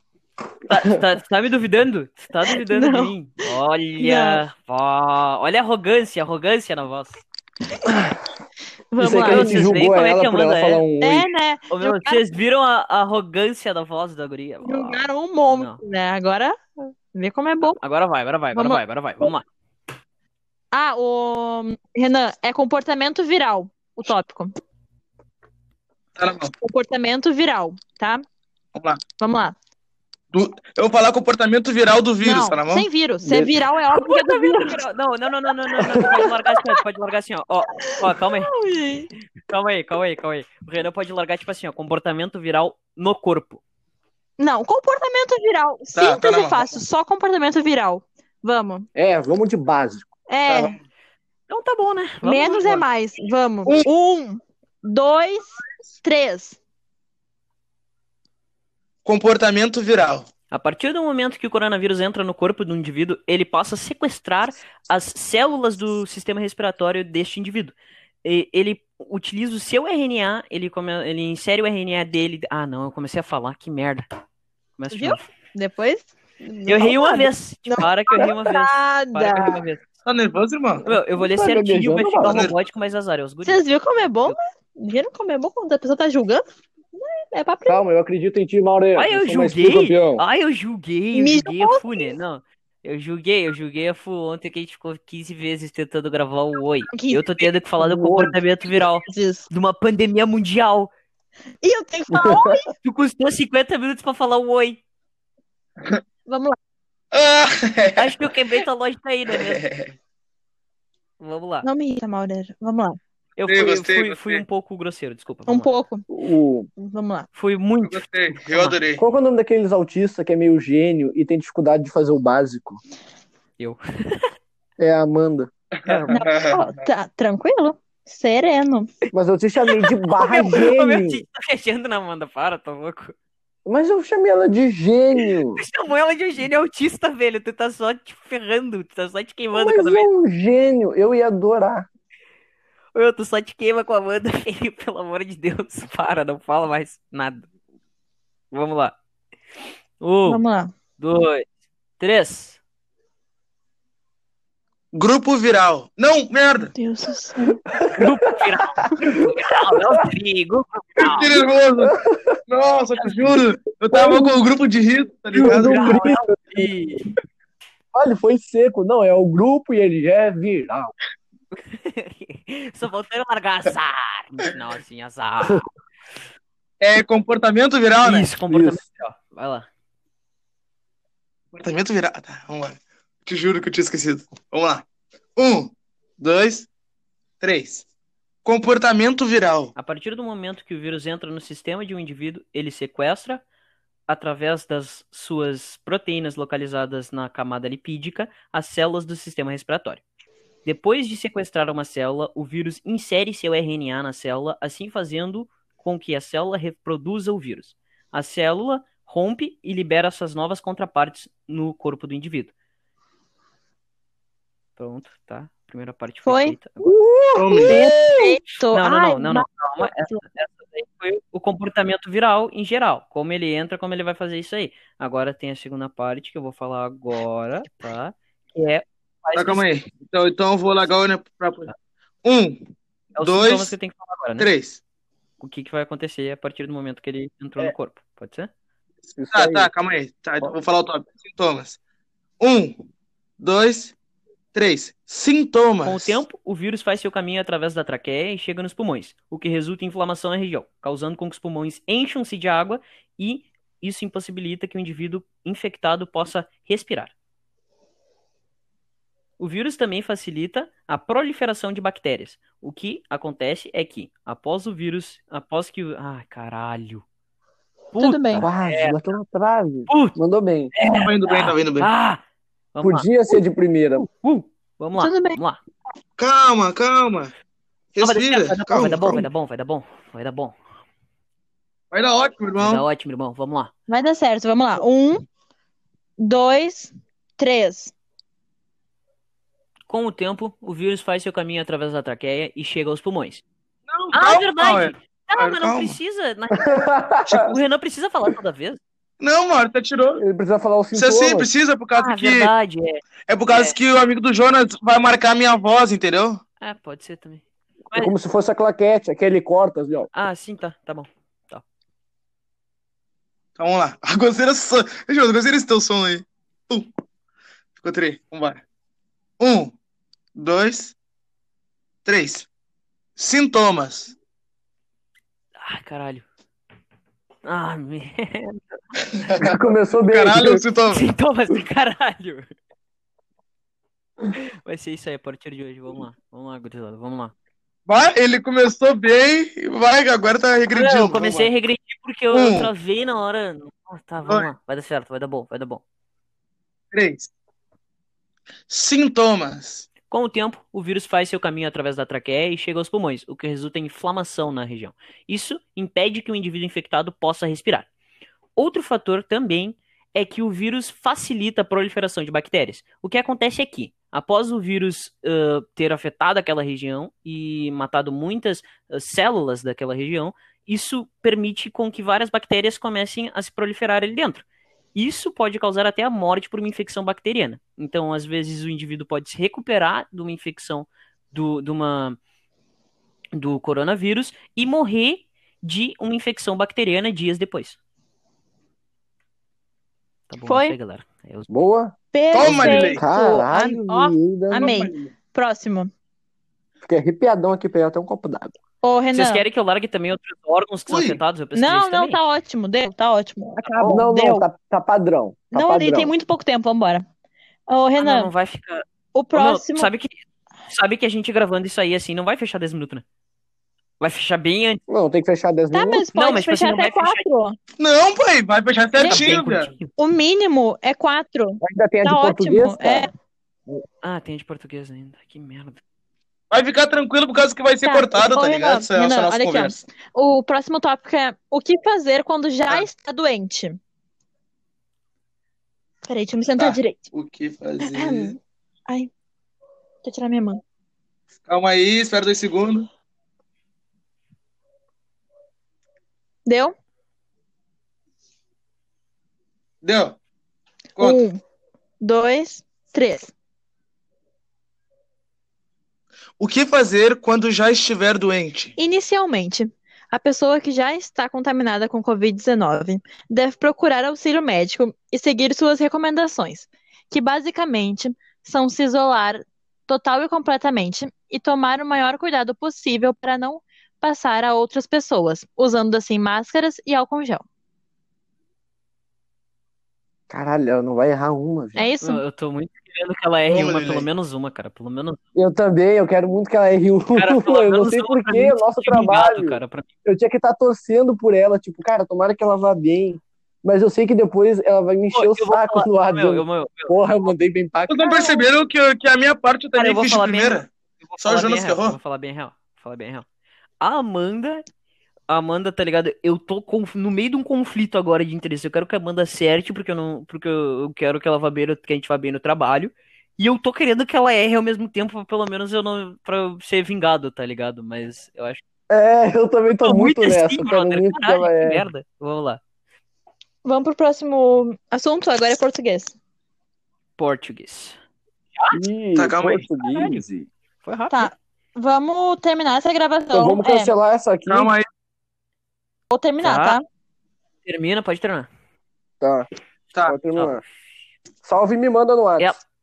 A: Tá, tu tá, tu tá me duvidando? Tu tá duvidando
B: Não.
A: de mim? Olha, ó, olha a arrogância, a arrogância na voz.
B: Vamos
E: Isso aí
B: lá.
E: que a gente
A: Vocês veem
E: julgou
A: como é que
E: ela
A: a
E: por ela
A: Amanda é?
E: falar um oi.
B: É, né?
A: Ô, meu,
B: Julgaram-
A: vocês viram a, a arrogância da voz da guria? Ó,
B: Julgaram um monte,
A: Não.
B: né? Agora, vê como é bom.
A: Agora vai, agora vai, agora
B: Vamos-
A: vai, agora vai. Vamos lá.
B: Ah, o Renan, é comportamento viral, o tópico.
D: Tá na mão.
B: Comportamento viral, tá?
D: Vamos lá.
B: Vamos lá.
D: Do- Eu vou falar comportamento viral do vírus,
B: Não,
D: tá na mão?
B: sem vírus. Se é
E: Be-
B: viral, é óbvio que é do vírus.
A: Não, não, não, não, não, não, não, pode largar assim, ó, pode largar assim, ó. Ó, ó, calma aí, calma aí, calma aí, calma aí. O Renan pode largar, tipo assim, ó, comportamento viral no corpo.
B: Não, comportamento viral.
D: tá na
B: Síntese
D: mão.
B: fácil, só comportamento viral. Vamos.
E: É, vamos de básico.
B: É,
D: Tá bom.
A: Então tá bom, né? Vamos
B: menos é
A: embora.
B: mais. Vamos. Um, dois, três.
D: Comportamento viral.
A: A partir do momento que o coronavírus entra no corpo do indivíduo, ele passa a sequestrar as células do sistema respiratório deste indivíduo. E- ele utiliza o seu RNA, ele, come- ele insere o RNA dele. Ah, não, eu comecei a falar, que merda. Começa de
B: Viu?
A: novo.
B: Depois.
A: Eu errei uma vez. Para que eu errei uma vez. Para que eu errei
B: Nada.
A: uma vez.
D: Tá nervoso, irmão?
A: Meu, eu vou ler
E: Tá
A: certinho, vai
E: gaguejando,
A: ficar
E: mano.
A: robótico, mas azar. É os guris.
B: Vocês viram como é bom, né? Viram como é bom quando a pessoa tá julgando? É, é pra aprender.
E: Calma, eu acredito em ti, Maureen.
A: Ai, eu
E: sou mais
A: julguei.
E: que campeão.
A: Ai, eu julguei, eu
B: Me
A: julguei a Fu, né? Não, eu julguei, eu julguei a Fu ontem que a gente ficou 15 vezes tentando gravar o Oi.
B: 15
A: Eu tô tendo que falar do
E: Oi.
A: comportamento viral
B: Diz.
A: de uma pandemia mundial.
B: E eu tenho que falar. um "Oi".
A: Tu custou 50 minutos pra falar o Oi.
B: Vamos lá.
D: Ah!
A: Acho que eu quebrei tua lógica aí, né mesmo? Vamos lá.
B: Não me irrita, Maurer. Vamos lá.
A: Eu
D: Gostei,
A: fui,
D: gostei,
A: fui- fui
D: gostei.
A: um pouco grosseiro, desculpa.
B: Um
A: vamos lá.
B: pouco.
E: O...
B: Vamos lá.
A: Fui muito.
D: Gostei, eu adorei.
E: Qual que é o nome daqueles autistas que é meio gênio e tem dificuldade de fazer o básico?
A: Eu.
E: É a Amanda.
B: Ó, tá tranquilo? Sereno.
E: Mas eu te chamei de barra
A: Ô, meu, ô, meu,
E: gênio.
A: te- tá fechando na Amanda, para, tá louco?
E: Mas eu chamei ela de gênio.
A: Tu chamou ela de um gênio autista, velho. Tu tá só te ferrando, tu tá só te queimando
E: Mas
A: cada vez.
E: é um gênio. Eu ia adorar.
A: Meu, tu só te queima com a Amanda, filho, pelo amor de Deus. Para, não fala mais nada. Vamos lá. Um,
B: Vamos lá.
A: dois, três.
D: Grupo viral. Não, merda.
B: Deus do céu.
A: Grupo viral. Grupo viral, não trigo.
D: Eu fiquei nervoso. Nossa, eu te juro. Eu tava com o grupo de risco, tá
E: Eu
D: ligado?
E: não brinco.
A: E...
E: Ah, ele um foi seco. Não, é o grupo e ele é viral.
A: Só voltando largar as armas. Não, assim, as armas.
D: É comportamento viral, né?
A: Isso, comportamento. ó. Vai lá.
D: Comportamento viral. Tá, vamos lá. Te juro que eu tinha esquecido. Vamos lá. Um, dois, três. Comportamento viral.
A: A partir do momento que o vírus entra no sistema de um indivíduo, ele sequestra, através das suas proteínas localizadas na camada lipídica, as células do sistema respiratório. Depois de sequestrar uma célula, o vírus insere seu RNA na célula, assim fazendo com que a célula reproduza o vírus. A célula rompe e libera suas novas contrapartes no corpo do indivíduo. Pronto, tá? Primeira parte foi,
B: Foi?
A: feita.
B: Perfeito.
A: Não, não,
B: Ai,
A: não, não, não, calma. Essa, essa daí foi o comportamento viral em geral. Como ele entra, como ele vai fazer isso aí. Agora tem a segunda parte que eu vou falar agora, tá? Que é.
D: Tá, calma aí. Então, então eu vou largar o olho pra. Um,
A: É os
D: Dois,
A: sintomas que eu tenho que falar agora, né?
D: três.
A: O que, que vai acontecer a partir do momento que ele entrou
D: É.
A: no corpo? Pode ser?
E: Isso
D: Tá,
E: aí.
D: tá, calma aí. Tá, então eu vou falar o top. Sintomas. Um, dois, três. Sintomas.
A: Com o tempo, o vírus faz seu caminho através da traqueia e chega nos pulmões, o que resulta em inflamação na região, causando com que os pulmões encham-se de água e isso impossibilita que o indivíduo infectado possa respirar. O vírus também facilita a proliferação de bactérias. O que acontece é que, após o vírus, após que o... Ai, caralho.
B: Tudo bem.
E: Quase, bateu na trave.
A: Puta,
E: Mandou bem.
B: É,
D: Tá indo bem, tá indo bem.
A: ah! Vamos lá.
E: Podia ser de primeira.
A: Uh, vamos lá,
B: Tudo bem.
A: vamos lá.
D: Calma, calma.
A: Não, vai dar
D: Respira.
A: certo, vai dar bom,
D: calma,
A: vai dar bom, vai dar bom, vai
D: calma.
A: dar bom, vai dar bom.
D: Vai dar ótimo,
A: Vai dar
D: irmão.
A: ótimo, irmão. Vamos lá.
B: Vai dar certo, vamos lá. Um, dois, três.
A: Com o tempo, o vírus faz seu caminho através da traqueia e chega aos pulmões.
D: Não,
A: Ah,
D: calma,
A: verdade! Tá,
D: Calma.
A: mas não precisa. na- O Renan precisa falar toda vez.
D: Não, Mauro, tá tirou.
E: Ele precisa falar os
D: Você
E: sintomas.
D: sim precisa, por causa
A: Ah,
D: que.
A: verdade, é.
D: É por causa que o amigo do Jonas vai marcar a minha voz, entendeu?
A: Ah, pode ser também.
E: É como se fosse a claquete, aquele corta, assim, ó.
A: Ah, sim, tá, tá bom.
D: Então vamos lá. A gozeira só. Jonas, gozeira esse teu som aí. Um. Ficou três. Vambora. Um, dois, três. Sintomas.
A: Ah, caralho. Ah, me...
E: Já começou bem.
D: Caralho, sintomas.
A: sintomas do Então caralho. Vai ser isso aí a partir de hoje. Vamos lá, vamos lá, gurizada, vamos lá.
D: Vai, ele começou bem, vai, agora tá regredindo.
A: Não, eu comecei a regredir porque eu, eu
D: Um.
A: travei na hora. Ah, tá, vamos
D: Dois.
A: lá. Vai dar certo, vai dar bom, vai dar bom.
D: Três. Sintomas.
A: Com o tempo, o vírus faz seu caminho através da traqueia e chega aos pulmões, o que resulta em inflamação na região. Isso impede que o indivíduo infectado possa respirar. Outro fator também é que o vírus facilita a proliferação de bactérias. O que acontece é que, após o vírus ãh, ter afetado aquela região e matado muitas ãh, células daquela região, isso permite com que várias bactérias comecem a se proliferar ali dentro. Isso pode causar até a morte por uma infecção bacteriana. Então, às vezes, o indivíduo pode se recuperar de uma infecção do, de uma, do coronavírus e morrer de uma infecção bacteriana dias depois. Tá bom,
B: Foi?
A: é isso aí, galera. É os-
E: Boa.
D: Toma, Lili.
B: Perfeito.
E: Caralho,
B: Ó,
E: menina.
B: amei. Próximo.
E: Fiquei arrepiadão aqui, pegar até um copo d'água.
B: Ô, Renan.
A: Vocês querem que eu largue também outros órgãos que são
D: Ui.
A: afetados? Eu pesquisei
B: Não,
A: isso
B: não,
A: também.
B: tá ótimo. Deu, tá ótimo. Acaba.
E: não,
B: deu.
E: não, tá, tá padrão. Tá
B: Não,
E: padrão.
B: ele tem muito pouco tempo, vambora. Ô,
A: Ah, não,
B: Renan,
A: não vai ficar. Ô,
B: o
A: meu,
B: próximo.
A: sabe que sabe que a gente gravando isso aí assim não vai fechar 10 minutos, né? Vai fechar bem antes.
E: Não, tem que fechar 10
B: Tá,
E: minutos.
B: mas pode
A: mas, tipo
B: fechar
A: assim, não
B: até
A: vai fechar.
B: quatro.
D: Não, pai, vai fechar certinho,
A: tá Bem
D: velho.
A: curtinho.
B: O mínimo é quatro.
E: Ainda tem a de
B: Tá
E: português,
B: ótimo.
E: cara.
B: É,
A: Ah, tem de português ainda. Que merda.
D: Vai ficar tranquilo por causa que vai ser
B: Tá.
D: cortado,
B: Ô,
D: tá
B: Renan,
D: ligado? Essa, essa
B: Renan,
D: nossa
B: olha aqui, ó.
D: conversa.
B: o próximo tópico é o que fazer quando já
D: Tá.
B: está doente. Peraí, deixa eu me sentar
D: Tá.
B: direito.
D: O que fazer?
B: Deixa eu tirar minha mão.
D: Calma aí, espera dois segundos.
B: Deu?
D: Deu. Conta.
B: Um, dois, três.
D: O que fazer quando já estiver doente?
B: Inicialmente, a pessoa que já está contaminada com Covid-19 deve procurar auxílio médico e seguir suas recomendações, que basicamente são se isolar total e completamente e tomar o maior cuidado possível para não passar a outras pessoas, usando assim máscaras e álcool em gel.
E: Caralho, ela não vai errar uma, velho.
B: É isso?
A: Eu, eu tô muito querendo que ela erre
D: Ô,
A: uma,
D: Lele.
A: pelo menos uma, cara. Pelo menos.
E: Eu também, eu quero muito que ela erre uma.
A: Cara, pelo
E: eu não
A: menos
E: sei
A: uma pra
E: porquê, é
A: mim
E: o nosso
A: ficar ligado,
E: trabalho.
A: um cara, pra mim.
E: Eu tinha que estar torcendo por ela, tipo, cara, tomara que ela vá bem. Mas eu sei que depois ela vai me encher
A: Pô,
E: o
A: eu vou
E: saco
A: falar-
E: no ar.
A: Meu,
E: dizendo,
A: eu, meu, meu,
E: Porra, eu mandei bem pra
D: Vocês não perceberam que, que a minha parte eu
A: Cara,
D: também
A: eu vou
D: fiz de
A: falar bem-
D: primeira?
A: eu vou
D: Só o
A: falar bem
D: Jonas que
A: real, eu
D: errou?
A: vou falar bem real. Vou falar bem real. A Amanda. A Amanda, tá ligado? Eu tô conf- no meio de um conflito agora de interesse. Eu quero que a Amanda acerte, porque eu não. Porque eu eu quero que ela vá bem, no- que a gente vá bem no trabalho. E eu tô querendo que ela erre ao mesmo tempo, pra pelo menos eu não. Pra eu ser vingado, tá ligado? Mas eu acho que.
E: É, eu também tô
A: Tô
E: muito nessa,
A: assim,
E: cara.
A: brother.
E: eu minto que
A: Caralho,
E: ela
A: que
E: é.
A: merda. Vamos lá.
B: Vamos pro próximo assunto, agora é português.
A: Português.
E: Ih,
D: Tá, calma aí.
E: português.
A: Foi rápido.
B: Tá. Vamos terminar essa gravação.
E: Então vamos
B: É,
E: cancelar essa aqui.
D: Calma aí.
B: vou terminar,
A: Tá.
B: tá?
A: Termina, pode terminar.
E: Tá,
D: Tá.
E: pode terminar. Salve e me manda no WhatsApp.